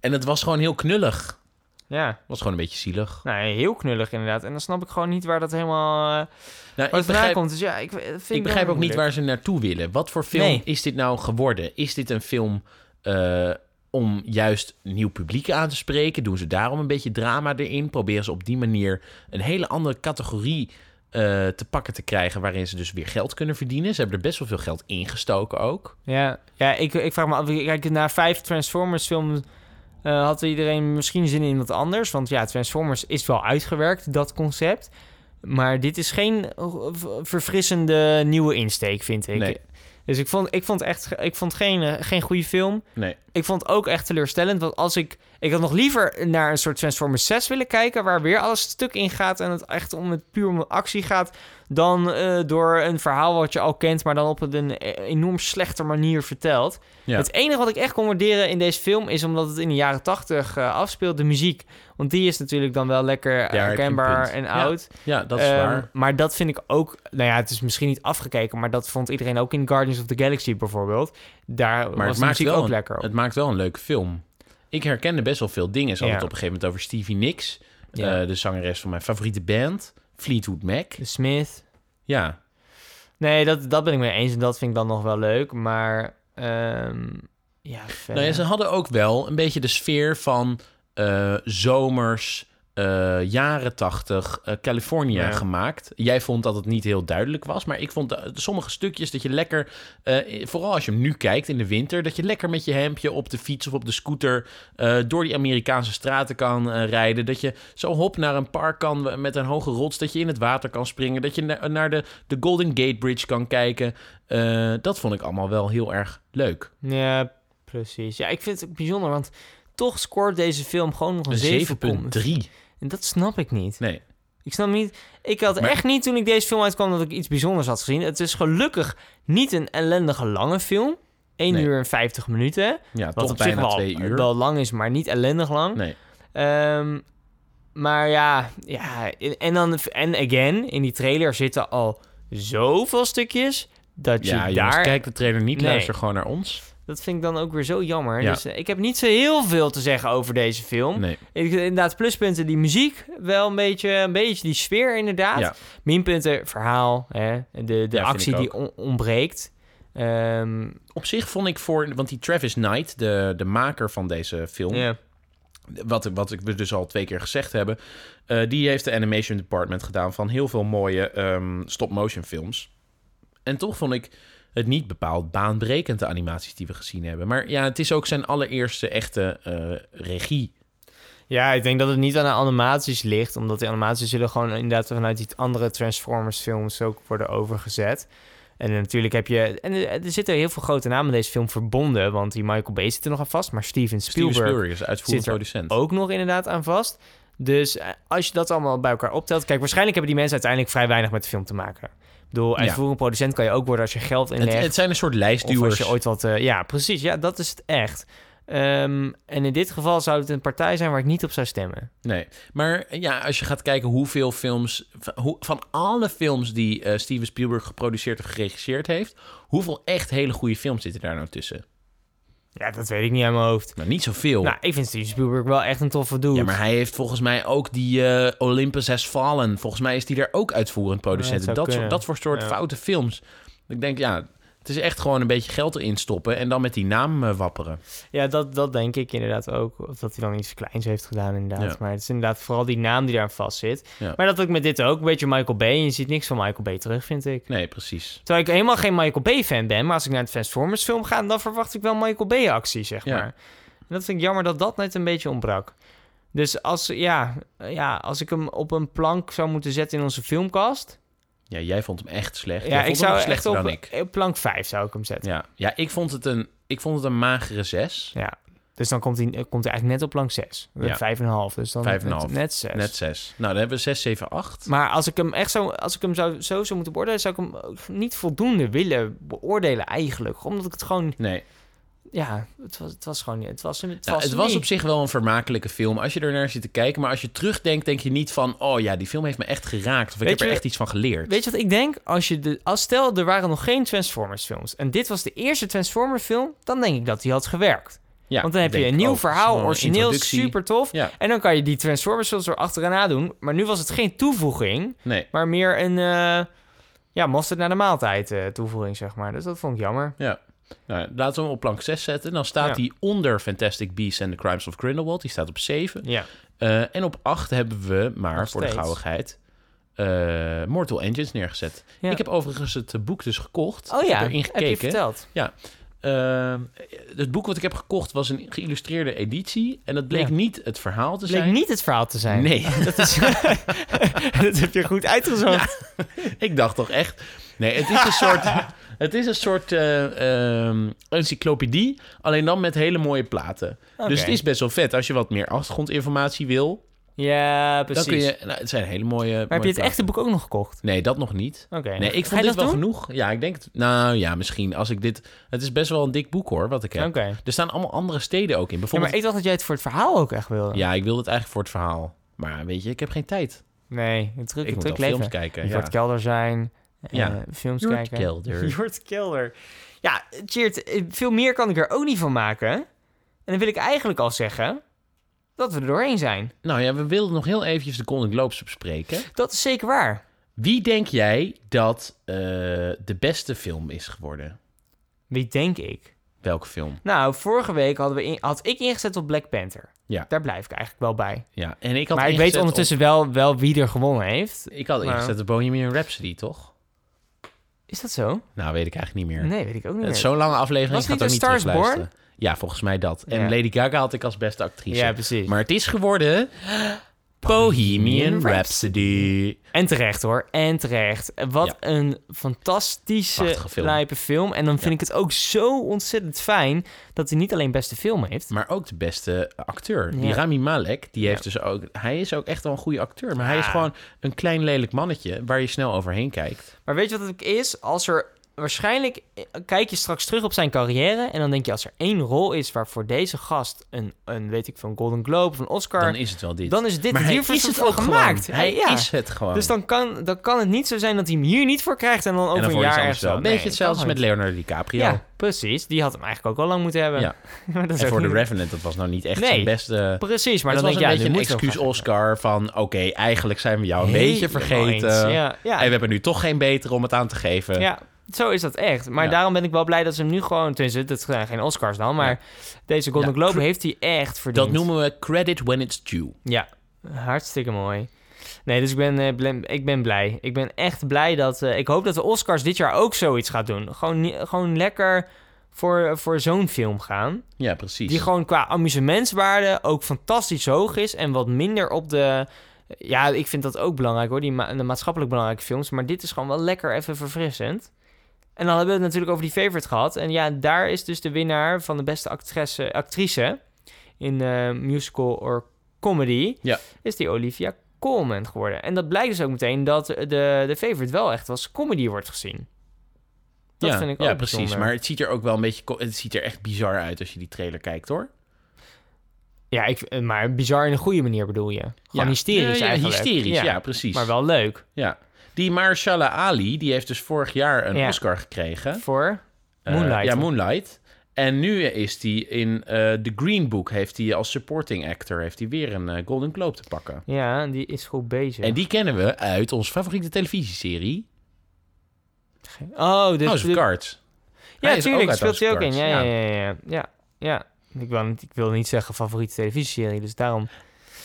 [SPEAKER 1] En het was gewoon heel knullig. Het
[SPEAKER 2] ja.
[SPEAKER 1] was gewoon een beetje zielig.
[SPEAKER 2] Nou, heel knullig inderdaad. En dan snap ik gewoon niet waar dat helemaal... eh,
[SPEAKER 1] Nou,
[SPEAKER 2] waar
[SPEAKER 1] ik
[SPEAKER 2] het vandaan
[SPEAKER 1] begrijp,
[SPEAKER 2] komt. Dus ja, ik eh, vind
[SPEAKER 1] ik
[SPEAKER 2] dat
[SPEAKER 1] begrijp ook niet
[SPEAKER 2] moeilijk.
[SPEAKER 1] waar ze naartoe willen. Wat voor film
[SPEAKER 2] Nee.
[SPEAKER 1] is dit nou geworden? Is dit een film eh, om juist nieuw publiek aan te spreken? Doen ze daarom een beetje drama erin? Proberen ze op die manier een hele andere categorie eh, te pakken te krijgen... waarin ze dus weer geld kunnen verdienen? Ze hebben er best wel veel geld ingestoken ook.
[SPEAKER 2] Ja, ja ik, ik vraag me af. Kijk, na vijf Transformers films eh, had iedereen misschien zin in wat anders. Want ja, Transformers is wel uitgewerkt, dat concept. Maar dit is geen eh, v- verfrissende nieuwe insteek, vind ik.
[SPEAKER 1] Nee.
[SPEAKER 2] Dus ik vond, ik vond echt ik vond geen, eh, geen goede film.
[SPEAKER 1] Nee.
[SPEAKER 2] Ik vond het ook echt teleurstellend. Want als ik. Ik had nog liever naar een soort Transformers 6 willen kijken. Waar weer alles stuk in gaat. En het echt om het puur om de actie gaat. Dan eh, door een verhaal wat je al kent. Maar dan op een eh, enorm slechte manier verteld.
[SPEAKER 1] Ja.
[SPEAKER 2] Het enige wat ik echt kon waarderen in deze film. Is omdat het in de jaren 80 eh, afspeelt. De muziek. Want die is natuurlijk dan wel lekker
[SPEAKER 1] Ja,
[SPEAKER 2] herkenbaar
[SPEAKER 1] ik heb een
[SPEAKER 2] en
[SPEAKER 1] punt. Ja,
[SPEAKER 2] oud.
[SPEAKER 1] Ja, dat is
[SPEAKER 2] Ehm,
[SPEAKER 1] waar.
[SPEAKER 2] Maar dat vind ik ook. Nou ja, het is misschien niet afgekeken. Maar dat vond iedereen ook in Guardians of the Galaxy bijvoorbeeld. Daar
[SPEAKER 1] Maar
[SPEAKER 2] was
[SPEAKER 1] het
[SPEAKER 2] de
[SPEAKER 1] maakt,
[SPEAKER 2] muziek
[SPEAKER 1] wel
[SPEAKER 2] ook
[SPEAKER 1] een,
[SPEAKER 2] lekker op.
[SPEAKER 1] het maakt wel een leuke film. Ik herkende best wel veel dingen. Ze hadden het
[SPEAKER 2] Ja.
[SPEAKER 1] op een gegeven moment over Stevie Nicks.
[SPEAKER 2] Ja. Dus-
[SPEAKER 1] eh, de zangeres van mijn favoriete band. Fleetwood Mac.
[SPEAKER 2] De Smith.
[SPEAKER 1] Ja.
[SPEAKER 2] Nee, dat, dat ben ik mee eens. En dat vind ik dan nog wel leuk. Maar ehm, ja, verder.
[SPEAKER 1] Nou ja, ze hadden ook wel een beetje de sfeer van eh, zomers, eh, jaren tachtig, eh, Californië
[SPEAKER 2] Ja.
[SPEAKER 1] gemaakt. Jij vond dat het niet heel duidelijk was, maar ik vond eh, sommige stukjes dat je lekker, eh, vooral als je hem nu kijkt in de winter, dat je lekker met je hemdje op de fiets of op de scooter eh, door die Amerikaanse straten kan eh, rijden. Dat je zo hop naar een park kan met een hoge rots, dat je in het water kan springen, dat je na- naar de, de Golden Gate Bridge kan kijken. Eh, dat vond ik allemaal wel heel erg leuk.
[SPEAKER 2] Ja, precies. Ja, ik vind het ook bijzonder, want toch scoort deze film gewoon nog een 7,3.
[SPEAKER 1] Een 7,3.
[SPEAKER 2] En dat snap ik niet.
[SPEAKER 1] Nee.
[SPEAKER 2] Ik snap niet... Ik had
[SPEAKER 1] Maar-
[SPEAKER 2] echt niet toen ik deze film uitkwam dat ik iets bijzonders had gezien. Het is gelukkig niet een ellendige lange film. 1
[SPEAKER 1] Nee.
[SPEAKER 2] uur en 50 minuten.
[SPEAKER 1] Ja,
[SPEAKER 2] Wat
[SPEAKER 1] toch
[SPEAKER 2] op zich
[SPEAKER 1] bijna
[SPEAKER 2] wel,
[SPEAKER 1] twee uur.
[SPEAKER 2] wel lang is, maar niet ellendig lang.
[SPEAKER 1] Nee.
[SPEAKER 2] Ehm, maar ja, ja en, en dan en again, in die trailer zitten al zoveel stukjes dat je
[SPEAKER 1] Ja,
[SPEAKER 2] daar...
[SPEAKER 1] jongens, kijk de trailer niet.
[SPEAKER 2] Nee.
[SPEAKER 1] Luister gewoon naar ons.
[SPEAKER 2] Dat vind ik dan ook weer zo jammer.
[SPEAKER 1] Ja.
[SPEAKER 2] Dus eh, ik heb niet zo heel veel te zeggen over deze film.
[SPEAKER 1] Nee.
[SPEAKER 2] Ik- Inderdaad, pluspunten die muziek, wel een beetje, een beetje die sfeer inderdaad.
[SPEAKER 1] Ja.
[SPEAKER 2] Minpunten, verhaal, hè? de, de
[SPEAKER 1] Ja,
[SPEAKER 2] actie
[SPEAKER 1] vind ik
[SPEAKER 2] die on- ontbreekt. Ehm,
[SPEAKER 1] Op zich vond ik voor... Want die Travis Knight, de, de maker van deze film...
[SPEAKER 2] ja.
[SPEAKER 1] wat, wat ik we dus al twee keer gezegd hebben. eh, die heeft de animation department gedaan van heel veel mooie ehm, stop-motion films. En toch vond ik het niet bepaald baanbrekend, de animaties die we gezien hebben. Maar ja, het is ook zijn allereerste echte eh, regie.
[SPEAKER 2] Ja, ik denk dat het niet aan de animaties ligt. Omdat die animaties zullen gewoon inderdaad vanuit die andere Transformers films ook worden overgezet. En natuurlijk heb je... En er er zitten heel veel grote namen in deze film verbonden. Want die Michael Bay zit er nog aan vast. Maar Steven
[SPEAKER 1] Steven
[SPEAKER 2] Spielberg,
[SPEAKER 1] Spielberg is uitvoerend
[SPEAKER 2] zit er
[SPEAKER 1] producent.
[SPEAKER 2] ook nog inderdaad aan vast. Dus eh, als je dat allemaal bij elkaar optelt... Kijk, waarschijnlijk hebben die mensen uiteindelijk vrij weinig met de film te maken. Ik bedoel, uitvoerend producent kan je ook worden als je geld inlegt.
[SPEAKER 1] Het, het zijn een soort
[SPEAKER 2] Of als
[SPEAKER 1] lijstduwers.
[SPEAKER 2] je ooit wat... eh, ja, precies. Ja, dat is het echt. Ehm, en in dit geval zou het een partij zijn waar ik niet op zou stemmen.
[SPEAKER 1] Nee, maar eh, ja, als je gaat kijken hoeveel films... van- Hoe, van alle films die eh, Steven Spielberg geproduceerd of geregisseerd heeft... hoeveel echt hele goede films zitten daar nou tussen?
[SPEAKER 2] Ja, dat weet ik niet uit mijn hoofd.
[SPEAKER 1] Nou, niet zoveel.
[SPEAKER 2] Nou, ik vind Steven Spielberg wel echt een toffe dude.
[SPEAKER 1] Ja, maar hij heeft volgens mij ook die eh, Olympus Has Fallen. Volgens mij is die daar ook uitvoerend producent.
[SPEAKER 2] Ja, het zou
[SPEAKER 1] dat, soort,
[SPEAKER 2] kunnen.
[SPEAKER 1] dat voor soort
[SPEAKER 2] Ja.
[SPEAKER 1] foute films. Ik denk, ja, het is echt gewoon een beetje geld erin stoppen... en dan met die naam eh, wapperen.
[SPEAKER 2] Ja, dat, dat denk ik inderdaad ook. Of dat hij dan iets kleins heeft gedaan inderdaad.
[SPEAKER 1] Ja.
[SPEAKER 2] Maar het is inderdaad vooral die naam die daar vast zit.
[SPEAKER 1] Ja.
[SPEAKER 2] Maar dat ook met dit ook. Een beetje Michael Bay. En je ziet niks van Michael Bay terug, vind ik.
[SPEAKER 1] Nee, precies.
[SPEAKER 2] Terwijl ik helemaal geen Michael Bay-fan ben. Maar als ik naar het Transformers film ga, dan verwacht ik wel Michael Bay-actie, zeg
[SPEAKER 1] Ja.
[SPEAKER 2] maar. En dat vind ik jammer dat dat net een beetje ontbrak. Dus als, ja, ja, als ik hem op een plank zou moeten zetten in onze filmkast...
[SPEAKER 1] Ja, jij vond hem echt slecht. jij
[SPEAKER 2] Ja,
[SPEAKER 1] vond
[SPEAKER 2] ik zou
[SPEAKER 1] hem
[SPEAKER 2] echt
[SPEAKER 1] slechter
[SPEAKER 2] op,
[SPEAKER 1] dan ik.
[SPEAKER 2] op plank 5 zou ik hem zetten.
[SPEAKER 1] Ja, ja ik, vond het een, ik vond het een magere zes.
[SPEAKER 2] Ja. Dus dan komt hij, eh, komt hij eigenlijk net op lang 6.
[SPEAKER 1] Ja.
[SPEAKER 2] Vijf en een half. Dus dan
[SPEAKER 1] Vijf en een
[SPEAKER 2] net-
[SPEAKER 1] half.
[SPEAKER 2] net 6.
[SPEAKER 1] Net zes. Nou, dan hebben we zes, zeven, acht.
[SPEAKER 2] Maar als ik hem echt zo, als ik hem zou, zo zou moeten beoordelen, zou ik hem ook niet voldoende willen beoordelen eigenlijk. Omdat ik het gewoon,
[SPEAKER 1] Nee,
[SPEAKER 2] ja, het was, het was gewoon, niet- het was hem, het
[SPEAKER 1] Nou,
[SPEAKER 2] was,
[SPEAKER 1] het
[SPEAKER 2] hem
[SPEAKER 1] was
[SPEAKER 2] niet.
[SPEAKER 1] op zich wel een vermakelijke film. Als je er naar zit te kijken. Maar als je terugdenkt, denk je niet van... oh ja, die film heeft me echt geraakt. Of ik
[SPEAKER 2] Weet
[SPEAKER 1] heb er
[SPEAKER 2] je-
[SPEAKER 1] echt iets van geleerd.
[SPEAKER 2] Weet je wat ik denk? Als je de, als stel, er waren nog geen Transformers films. En dit was de eerste Transformers film, dan denk ik dat die had gewerkt.
[SPEAKER 1] Ja,
[SPEAKER 2] Want dan heb je
[SPEAKER 1] denk
[SPEAKER 2] een
[SPEAKER 1] ik
[SPEAKER 2] nieuw
[SPEAKER 1] ook. Gewoon
[SPEAKER 2] verhaal,
[SPEAKER 1] een
[SPEAKER 2] origineel,
[SPEAKER 1] introductie.
[SPEAKER 2] super tof.
[SPEAKER 1] Ja.
[SPEAKER 2] En dan kan je die Transformers films er achteraan doen. Maar nu was het geen toevoeging.
[SPEAKER 1] Nee.
[SPEAKER 2] Maar meer een, eh ja, mosterd naar de maaltijd eh, toevoeging, zeg maar. Dus dat vond ik jammer.
[SPEAKER 1] Ja. Nou, laten we hem op plank 6 zetten. Dan staat
[SPEAKER 2] Ja.
[SPEAKER 1] die onder Fantastic Beasts and the Crimes of Grindelwald. Die staat op 7.
[SPEAKER 2] Ja.
[SPEAKER 1] Eh, en op 8 hebben we, maar
[SPEAKER 2] Nog
[SPEAKER 1] voor de
[SPEAKER 2] steeds.
[SPEAKER 1] gauwigheid, eh, Mortal Engines neergezet.
[SPEAKER 2] Ja.
[SPEAKER 1] Ik heb overigens het eh, boek dus gekocht.
[SPEAKER 2] Oh
[SPEAKER 1] Ik
[SPEAKER 2] ja,
[SPEAKER 1] heb erin
[SPEAKER 2] heb je
[SPEAKER 1] gekeken.
[SPEAKER 2] verteld.
[SPEAKER 1] Ja. Ehm, het boek wat ik heb gekocht was een geïllustreerde editie. En dat bleek
[SPEAKER 2] Ja.
[SPEAKER 1] niet het verhaal te
[SPEAKER 2] Het bleek
[SPEAKER 1] zijn.
[SPEAKER 2] niet het verhaal te zijn.
[SPEAKER 1] Nee.
[SPEAKER 2] Dat, is, dat heb je goed uitgezocht.
[SPEAKER 1] Ik dacht toch echt. Nee, het is een soort. Het is een soort eh, ehm, encyclopedie, alleen dan met hele mooie platen. Dus het is best wel vet. Als je wat meer achtergrondinformatie wil,
[SPEAKER 2] Ja, precies.
[SPEAKER 1] dan kun je... Nou, het zijn hele mooie
[SPEAKER 2] Maar heb je
[SPEAKER 1] mooie
[SPEAKER 2] het echte boek ook nog gekocht?
[SPEAKER 1] Nee, dat nog niet.
[SPEAKER 2] Oké.
[SPEAKER 1] Nee, ik
[SPEAKER 2] Ga
[SPEAKER 1] vond dit
[SPEAKER 2] je dat
[SPEAKER 1] wel
[SPEAKER 2] doen?
[SPEAKER 1] genoeg. Ja, ik denk... het- Nou ja, misschien als ik dit... Het is best wel een dik boek hoor, wat ik heb.
[SPEAKER 2] Oké.
[SPEAKER 1] Er staan allemaal andere steden ook in.
[SPEAKER 2] Ja,
[SPEAKER 1] Bijvoorbeeld...
[SPEAKER 2] maar ik dacht dat jij het voor het verhaal ook echt wilde.
[SPEAKER 1] Ja, ik wilde het eigenlijk voor het verhaal. Maar weet je, ik heb geen tijd.
[SPEAKER 2] Nee, een druk,
[SPEAKER 1] Ik
[SPEAKER 2] een
[SPEAKER 1] moet
[SPEAKER 2] druk
[SPEAKER 1] wel
[SPEAKER 2] leven.
[SPEAKER 1] films kijken,
[SPEAKER 2] Je
[SPEAKER 1] ja.
[SPEAKER 2] wordt kelder zijn. Ja.
[SPEAKER 1] Ja.
[SPEAKER 2] films
[SPEAKER 1] Jort
[SPEAKER 2] kijken.
[SPEAKER 1] Kelder.
[SPEAKER 2] Jort kelder. Ja, Tjeerd, eh, veel meer kan ik er ook niet van maken. En dan wil ik eigenlijk al zeggen dat we er doorheen zijn.
[SPEAKER 1] Nou ja, we wilden nog heel eventjes de Golden Globes bespreken.
[SPEAKER 2] Dat is zeker waar.
[SPEAKER 1] Wie denk jij dat eh, de beste film is geworden?
[SPEAKER 2] Wie denk ik?
[SPEAKER 1] Welke film?
[SPEAKER 2] Nou, vorige week hadden we in- had ik ingezet op Black Panther.
[SPEAKER 1] Ja.
[SPEAKER 2] Daar blijf ik eigenlijk wel bij.
[SPEAKER 1] Ja, en ik Nou. had
[SPEAKER 2] maar ik weet
[SPEAKER 1] ingezet
[SPEAKER 2] ondertussen wel, wel wie er gewonnen heeft.
[SPEAKER 1] op- ik had
[SPEAKER 2] maar-
[SPEAKER 1] ingezet de Bohemian Rhapsody, toch?
[SPEAKER 2] Is dat zo?
[SPEAKER 1] Nou, weet ik eigenlijk niet meer.
[SPEAKER 2] Nee, weet ik ook niet.
[SPEAKER 1] Het is
[SPEAKER 2] meer.
[SPEAKER 1] zo'n lange aflevering,
[SPEAKER 2] Was
[SPEAKER 1] ik ga het ook
[SPEAKER 2] niet
[SPEAKER 1] niet
[SPEAKER 2] A Star is Born?
[SPEAKER 1] terugluisteren. Ja, volgens mij dat. En
[SPEAKER 2] Ja.
[SPEAKER 1] Lady Gaga had ik als beste actrice.
[SPEAKER 2] Ja, precies.
[SPEAKER 1] Maar het is geworden... Bohemian Rhapsody.
[SPEAKER 2] En terecht hoor, en terecht. Wat
[SPEAKER 1] Ja.
[SPEAKER 2] een fantastische,
[SPEAKER 1] Prachtige film.
[SPEAKER 2] lijpe film. En dan vind ik het ook zo ontzettend fijn dat hij niet alleen beste film heeft.
[SPEAKER 1] Maar ook de beste acteur. Die
[SPEAKER 2] Ja. Ah.
[SPEAKER 1] Rami Malek, die heeft dus ook... Hij is ook echt wel een goede acteur. Maar hij is gewoon een klein lelijk mannetje waar je snel overheen kijkt.
[SPEAKER 2] Maar weet je wat het ook is? Als er waarschijnlijk eh, kijk je straks terug op zijn carrière. En dan denk je, als er één rol is waarvoor deze gast een, een weet ik, van Golden Globe of een Oscar.
[SPEAKER 1] Dan is het wel dit.
[SPEAKER 2] Dan is dit.
[SPEAKER 1] Maar hij
[SPEAKER 2] Hiervoor
[SPEAKER 1] is
[SPEAKER 2] is
[SPEAKER 1] het
[SPEAKER 2] voor
[SPEAKER 1] ook
[SPEAKER 2] gemaakt.
[SPEAKER 1] gewoon. Hij
[SPEAKER 2] ja.
[SPEAKER 1] is het gewoon.
[SPEAKER 2] Dus dan kan, dan kan het niet zo zijn dat hij hem hier niet voor krijgt. En dan over
[SPEAKER 1] en dan
[SPEAKER 2] een
[SPEAKER 1] voor iets
[SPEAKER 2] jaar
[SPEAKER 1] anders wel.
[SPEAKER 2] ergens wel.
[SPEAKER 1] Beetje
[SPEAKER 2] Nee,
[SPEAKER 1] hetzelfde als met
[SPEAKER 2] kan niet.
[SPEAKER 1] Leonardo DiCaprio.
[SPEAKER 2] Ja, precies. Die had hem eigenlijk ook al lang moeten hebben.
[SPEAKER 1] Ja.
[SPEAKER 2] maar dat is
[SPEAKER 1] En
[SPEAKER 2] ook
[SPEAKER 1] voor The
[SPEAKER 2] niet-
[SPEAKER 1] Revenant, dat was nou niet echt
[SPEAKER 2] Nee.
[SPEAKER 1] zijn beste...
[SPEAKER 2] Precies, maar
[SPEAKER 1] het
[SPEAKER 2] dan
[SPEAKER 1] was
[SPEAKER 2] denk
[SPEAKER 1] een beetje
[SPEAKER 2] je, ja, nu
[SPEAKER 1] een
[SPEAKER 2] moet je
[SPEAKER 1] excuus
[SPEAKER 2] wel gaan-
[SPEAKER 1] Oscar van... oké, eigenlijk zijn we jou een
[SPEAKER 2] Helemaal
[SPEAKER 1] beetje vergeten.
[SPEAKER 2] eens, ja, ja.
[SPEAKER 1] En we hebben nu toch geen betere om het aan te geven.
[SPEAKER 2] Ja, zo is dat echt. Maar
[SPEAKER 1] Ja.
[SPEAKER 2] daarom ben ik wel blij dat ze hem nu gewoon... Tenminste, dat zijn geen Oscars dan, maar deze Golden
[SPEAKER 1] Ja,
[SPEAKER 2] Globe
[SPEAKER 1] cre-
[SPEAKER 2] heeft hij echt verdiend.
[SPEAKER 1] Dat noemen we credit when it's due.
[SPEAKER 2] Ja, hartstikke mooi. Nee, dus ik ben, eh, blen- ik ben blij. Ik ben echt blij dat... eh, ik hoop dat de Oscars dit jaar ook zoiets gaat doen. Gewoon, nie- gewoon lekker voor, voor zo'n film gaan.
[SPEAKER 1] Ja, precies.
[SPEAKER 2] Die gewoon qua amusementswaarde ook fantastisch hoog is. En wat minder op de. Ja, ik vind dat ook belangrijk hoor. Die ma- de maatschappelijk belangrijke films. Maar dit is gewoon wel lekker even verfrissend. En dan hebben we het natuurlijk over die favorite gehad. En ja, daar is dus de winnaar van de beste actresse, actrice in eh, musical or comedy.
[SPEAKER 1] Ja.
[SPEAKER 2] Is die Olivia Colman geworden. En dat blijkt dus ook meteen dat de, de favorite wel echt als comedy wordt gezien. Dat
[SPEAKER 1] ja,
[SPEAKER 2] vind ik ook
[SPEAKER 1] ja, precies.
[SPEAKER 2] bijzonder.
[SPEAKER 1] Maar het ziet er ook wel een beetje... ko- Het ziet er echt bizar uit als je die trailer kijkt, hoor.
[SPEAKER 2] Ja, ik, maar bizar in een goede manier bedoel je. Gewoon hysterisch
[SPEAKER 1] Ja, ja,
[SPEAKER 2] eigenlijk.
[SPEAKER 1] hysterisch, ja, precies.
[SPEAKER 2] Maar wel leuk.
[SPEAKER 1] Ja. Die Mahershala Ali, die heeft dus vorig jaar een
[SPEAKER 2] Ja.
[SPEAKER 1] Oscar gekregen.
[SPEAKER 2] Voor
[SPEAKER 1] Eh,
[SPEAKER 2] Moonlight.
[SPEAKER 1] ja, Moonlight. En nu is die in eh The Green Book, heeft hij als supporting actor, heeft hij weer een eh, Golden Globe te pakken.
[SPEAKER 2] Ja, die is goed bezig.
[SPEAKER 1] En die kennen we uit onze favoriete televisieserie,
[SPEAKER 2] Oh, dus...
[SPEAKER 1] House of Cards. Hij
[SPEAKER 2] Ja,
[SPEAKER 1] is
[SPEAKER 2] tuurlijk.
[SPEAKER 1] ook uit
[SPEAKER 2] Speelt hij ook
[SPEAKER 1] House
[SPEAKER 2] in.
[SPEAKER 1] of
[SPEAKER 2] Ja, ja,
[SPEAKER 1] Cards,
[SPEAKER 2] ja. ja, ja. ja. Ik, wil niet, ik wil niet zeggen favoriete televisieserie, dus daarom...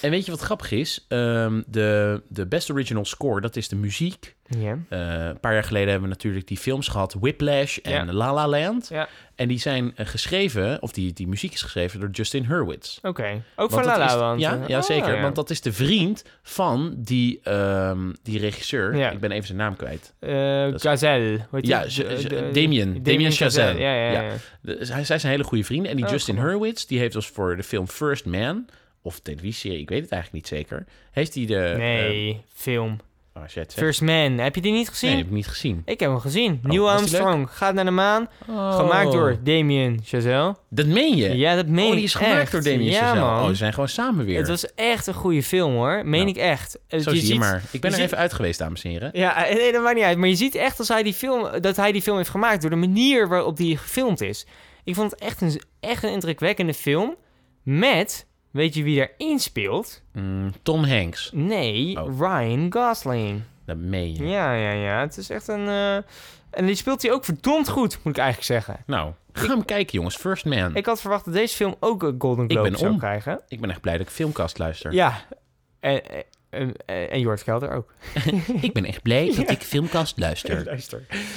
[SPEAKER 1] En weet je wat grappig is? Ehm, de, de best original score, dat is de muziek.
[SPEAKER 2] Ja.
[SPEAKER 1] Eh, een paar jaar geleden hebben we natuurlijk die films gehad, Whiplash en
[SPEAKER 2] Ja.
[SPEAKER 1] La La Land.
[SPEAKER 2] Ja,
[SPEAKER 1] En die zijn eh, geschreven, of die, die muziek is geschreven door Justin Hurwitz.
[SPEAKER 2] oké. Ook
[SPEAKER 1] Want
[SPEAKER 2] van La
[SPEAKER 1] dat
[SPEAKER 2] La
[SPEAKER 1] is-
[SPEAKER 2] Land.
[SPEAKER 1] Ja,
[SPEAKER 2] eh,
[SPEAKER 1] ja
[SPEAKER 2] oh,
[SPEAKER 1] zeker.
[SPEAKER 2] ja.
[SPEAKER 1] Want dat is de vriend van die, ehm, die regisseur.
[SPEAKER 2] Ja.
[SPEAKER 1] Ik ben even zijn naam kwijt.
[SPEAKER 2] Eh,
[SPEAKER 1] is-
[SPEAKER 2] Gazelle. Hoe heet
[SPEAKER 1] Ja,
[SPEAKER 2] die? Eh,
[SPEAKER 1] Z-
[SPEAKER 2] De-
[SPEAKER 1] Z-
[SPEAKER 2] de-
[SPEAKER 1] Damien. Damien Chazelle.
[SPEAKER 2] Ja, ja, ja.
[SPEAKER 1] Ja. Dus hij, zij zijn hele goede vrienden. En die
[SPEAKER 2] Oh,
[SPEAKER 1] Justin
[SPEAKER 2] grappig.
[SPEAKER 1] Hurwitz, die heeft dus voor de film First Man... of televisieserie, ik weet het eigenlijk niet zeker... heeft hij de...
[SPEAKER 2] Nee, film.
[SPEAKER 1] eh, oh, shit, zeg.
[SPEAKER 2] First Man. Heb je die niet gezien?
[SPEAKER 1] Nee, heb ik niet gezien.
[SPEAKER 2] Ik heb hem gezien.
[SPEAKER 1] Oh,
[SPEAKER 2] Neil
[SPEAKER 1] was die Oh.
[SPEAKER 2] Armstrong gaat naar de maan. Gemaakt door Damien Chazelle.
[SPEAKER 1] Dat meen je?
[SPEAKER 2] Ja, dat meen
[SPEAKER 1] Oh, die
[SPEAKER 2] ik
[SPEAKER 1] is gemaakt
[SPEAKER 2] echt.
[SPEAKER 1] door Damien
[SPEAKER 2] Ja,
[SPEAKER 1] Chazelle.
[SPEAKER 2] man.
[SPEAKER 1] Oh, ze zijn gewoon samen weer.
[SPEAKER 2] Het was echt een goede film hoor. Meen
[SPEAKER 1] Nou,
[SPEAKER 2] ik echt. Eh,
[SPEAKER 1] Zo zie je
[SPEAKER 2] ziet-
[SPEAKER 1] maar. Ik ben er
[SPEAKER 2] ziet-
[SPEAKER 1] even uit geweest, dames en heren.
[SPEAKER 2] Ja, eh, nee, dat maakt niet uit. Maar je ziet echt als hij die film, dat hij die film heeft gemaakt door de manier waarop die gefilmd is. Ik vond het echt een, echt een indrukwekkende film. Met, weet je wie daarin speelt?
[SPEAKER 1] Mm, Tom Hanks.
[SPEAKER 2] Nee,
[SPEAKER 1] Oh.
[SPEAKER 2] Ryan Gosling.
[SPEAKER 1] Dat meen je.
[SPEAKER 2] Ja, ja, ja. Het is echt een. eh, En die speelt hij ook verdomd goed, moet ik eigenlijk zeggen.
[SPEAKER 1] Nou, ga hem kijken, jongens. First Man. Ik,
[SPEAKER 2] Ik had verwacht dat deze film ook een Golden
[SPEAKER 1] Ik
[SPEAKER 2] Globe
[SPEAKER 1] ben
[SPEAKER 2] zou
[SPEAKER 1] om.
[SPEAKER 2] krijgen.
[SPEAKER 1] ben echt blij dat ik Filmkast luister.
[SPEAKER 2] Ja. En, en, en, en Jort Kelder ook.
[SPEAKER 1] Ik ben echt blij dat ik Filmkast luister.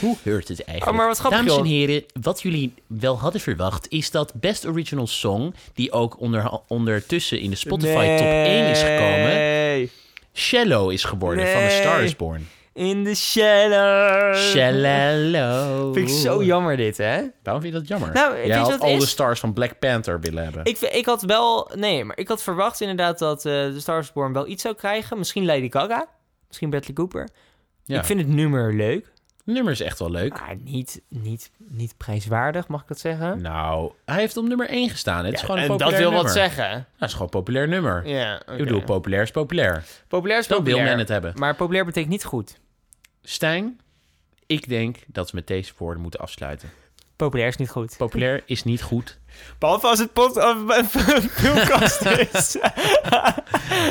[SPEAKER 1] Hoe heurt het eigenlijk?
[SPEAKER 2] Oh, maar wat grappig,
[SPEAKER 1] Dames en
[SPEAKER 2] joh.
[SPEAKER 1] heren, wat jullie wel hadden verwacht... is dat Best Original Song... die ook onder, ondertussen in de Spotify top 1 is gekomen...
[SPEAKER 2] Nee.
[SPEAKER 1] Shallow is geworden van A Star
[SPEAKER 2] Nee.
[SPEAKER 1] Is Born.
[SPEAKER 2] In the shadow.
[SPEAKER 1] Shallow.
[SPEAKER 2] Vind ik zo jammer dit, hè?
[SPEAKER 1] Waarom vind je dat jammer?
[SPEAKER 2] Nou, weet je
[SPEAKER 1] Jij had
[SPEAKER 2] wat het
[SPEAKER 1] al de
[SPEAKER 2] is?
[SPEAKER 1] stars van Black Panther willen hebben.
[SPEAKER 2] Ik, ik had wel... Nee, maar ik had verwacht inderdaad dat eh de Star Wars Born wel iets zou krijgen. Misschien Lady Gaga. Misschien Bradley Cooper.
[SPEAKER 1] Ja.
[SPEAKER 2] Ik vind het nummer leuk.
[SPEAKER 1] Het nummer is echt wel leuk.
[SPEAKER 2] Maar niet, niet, niet prijswaardig, mag ik dat zeggen?
[SPEAKER 1] Nou, hij heeft op nummer 1 gestaan. Het is gewoon een
[SPEAKER 2] en dat
[SPEAKER 1] populair
[SPEAKER 2] wil
[SPEAKER 1] nummer.
[SPEAKER 2] wat zeggen.
[SPEAKER 1] Dat is gewoon een populair nummer.
[SPEAKER 2] Ja, oké.
[SPEAKER 1] Ik bedoel, populair is populair.
[SPEAKER 2] populair is
[SPEAKER 1] Zo wil
[SPEAKER 2] populair.
[SPEAKER 1] men het hebben.
[SPEAKER 2] Maar populair betekent niet goed.
[SPEAKER 1] Stijn, ik denk dat we met deze woorden moeten afsluiten.
[SPEAKER 2] Populair is niet goed.
[SPEAKER 1] Populair is niet goed.
[SPEAKER 2] Behalve als het pot of filmkast is.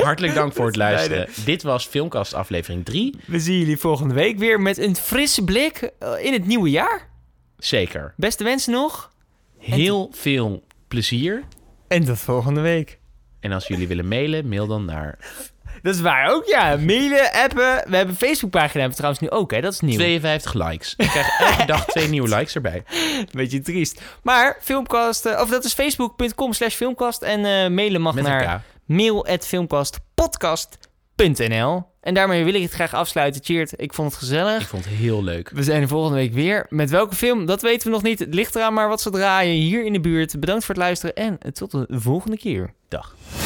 [SPEAKER 1] Hartelijk dank voor het luisteren. Dit was Filmkast aflevering 3.
[SPEAKER 2] We zien jullie volgende week weer met een frisse blik eh, in het nieuwe jaar.
[SPEAKER 1] Zeker.
[SPEAKER 2] Beste wensen nog.
[SPEAKER 1] Heel veel plezier.
[SPEAKER 2] En tot volgende week.
[SPEAKER 1] En als jullie willen mailen, mail dan naar
[SPEAKER 2] Dat is waar ook, ja. Mailen, appen. We hebben een Facebookpagina hebben we trouwens nu ook, hè. Dat is nieuw.
[SPEAKER 1] 52 likes. Ik krijg elke dag twee nieuwe likes erbij.
[SPEAKER 2] Beetje triest. Maar filmkast, eh, of dat is facebook.com slash filmkast. En eh, mailen mag
[SPEAKER 1] Met een
[SPEAKER 2] naar mail.filmkastpodcast.nl. En daarmee wil ik het graag afsluiten. Cheert, ik vond het
[SPEAKER 1] Ik
[SPEAKER 2] gezellig.
[SPEAKER 1] vond het heel leuk.
[SPEAKER 2] We zijn er volgende week weer. Met welke film, dat weten we nog niet. Het ligt eraan maar wat ze draaien hier in de buurt. Bedankt voor het luisteren en tot de volgende keer.
[SPEAKER 1] Dag.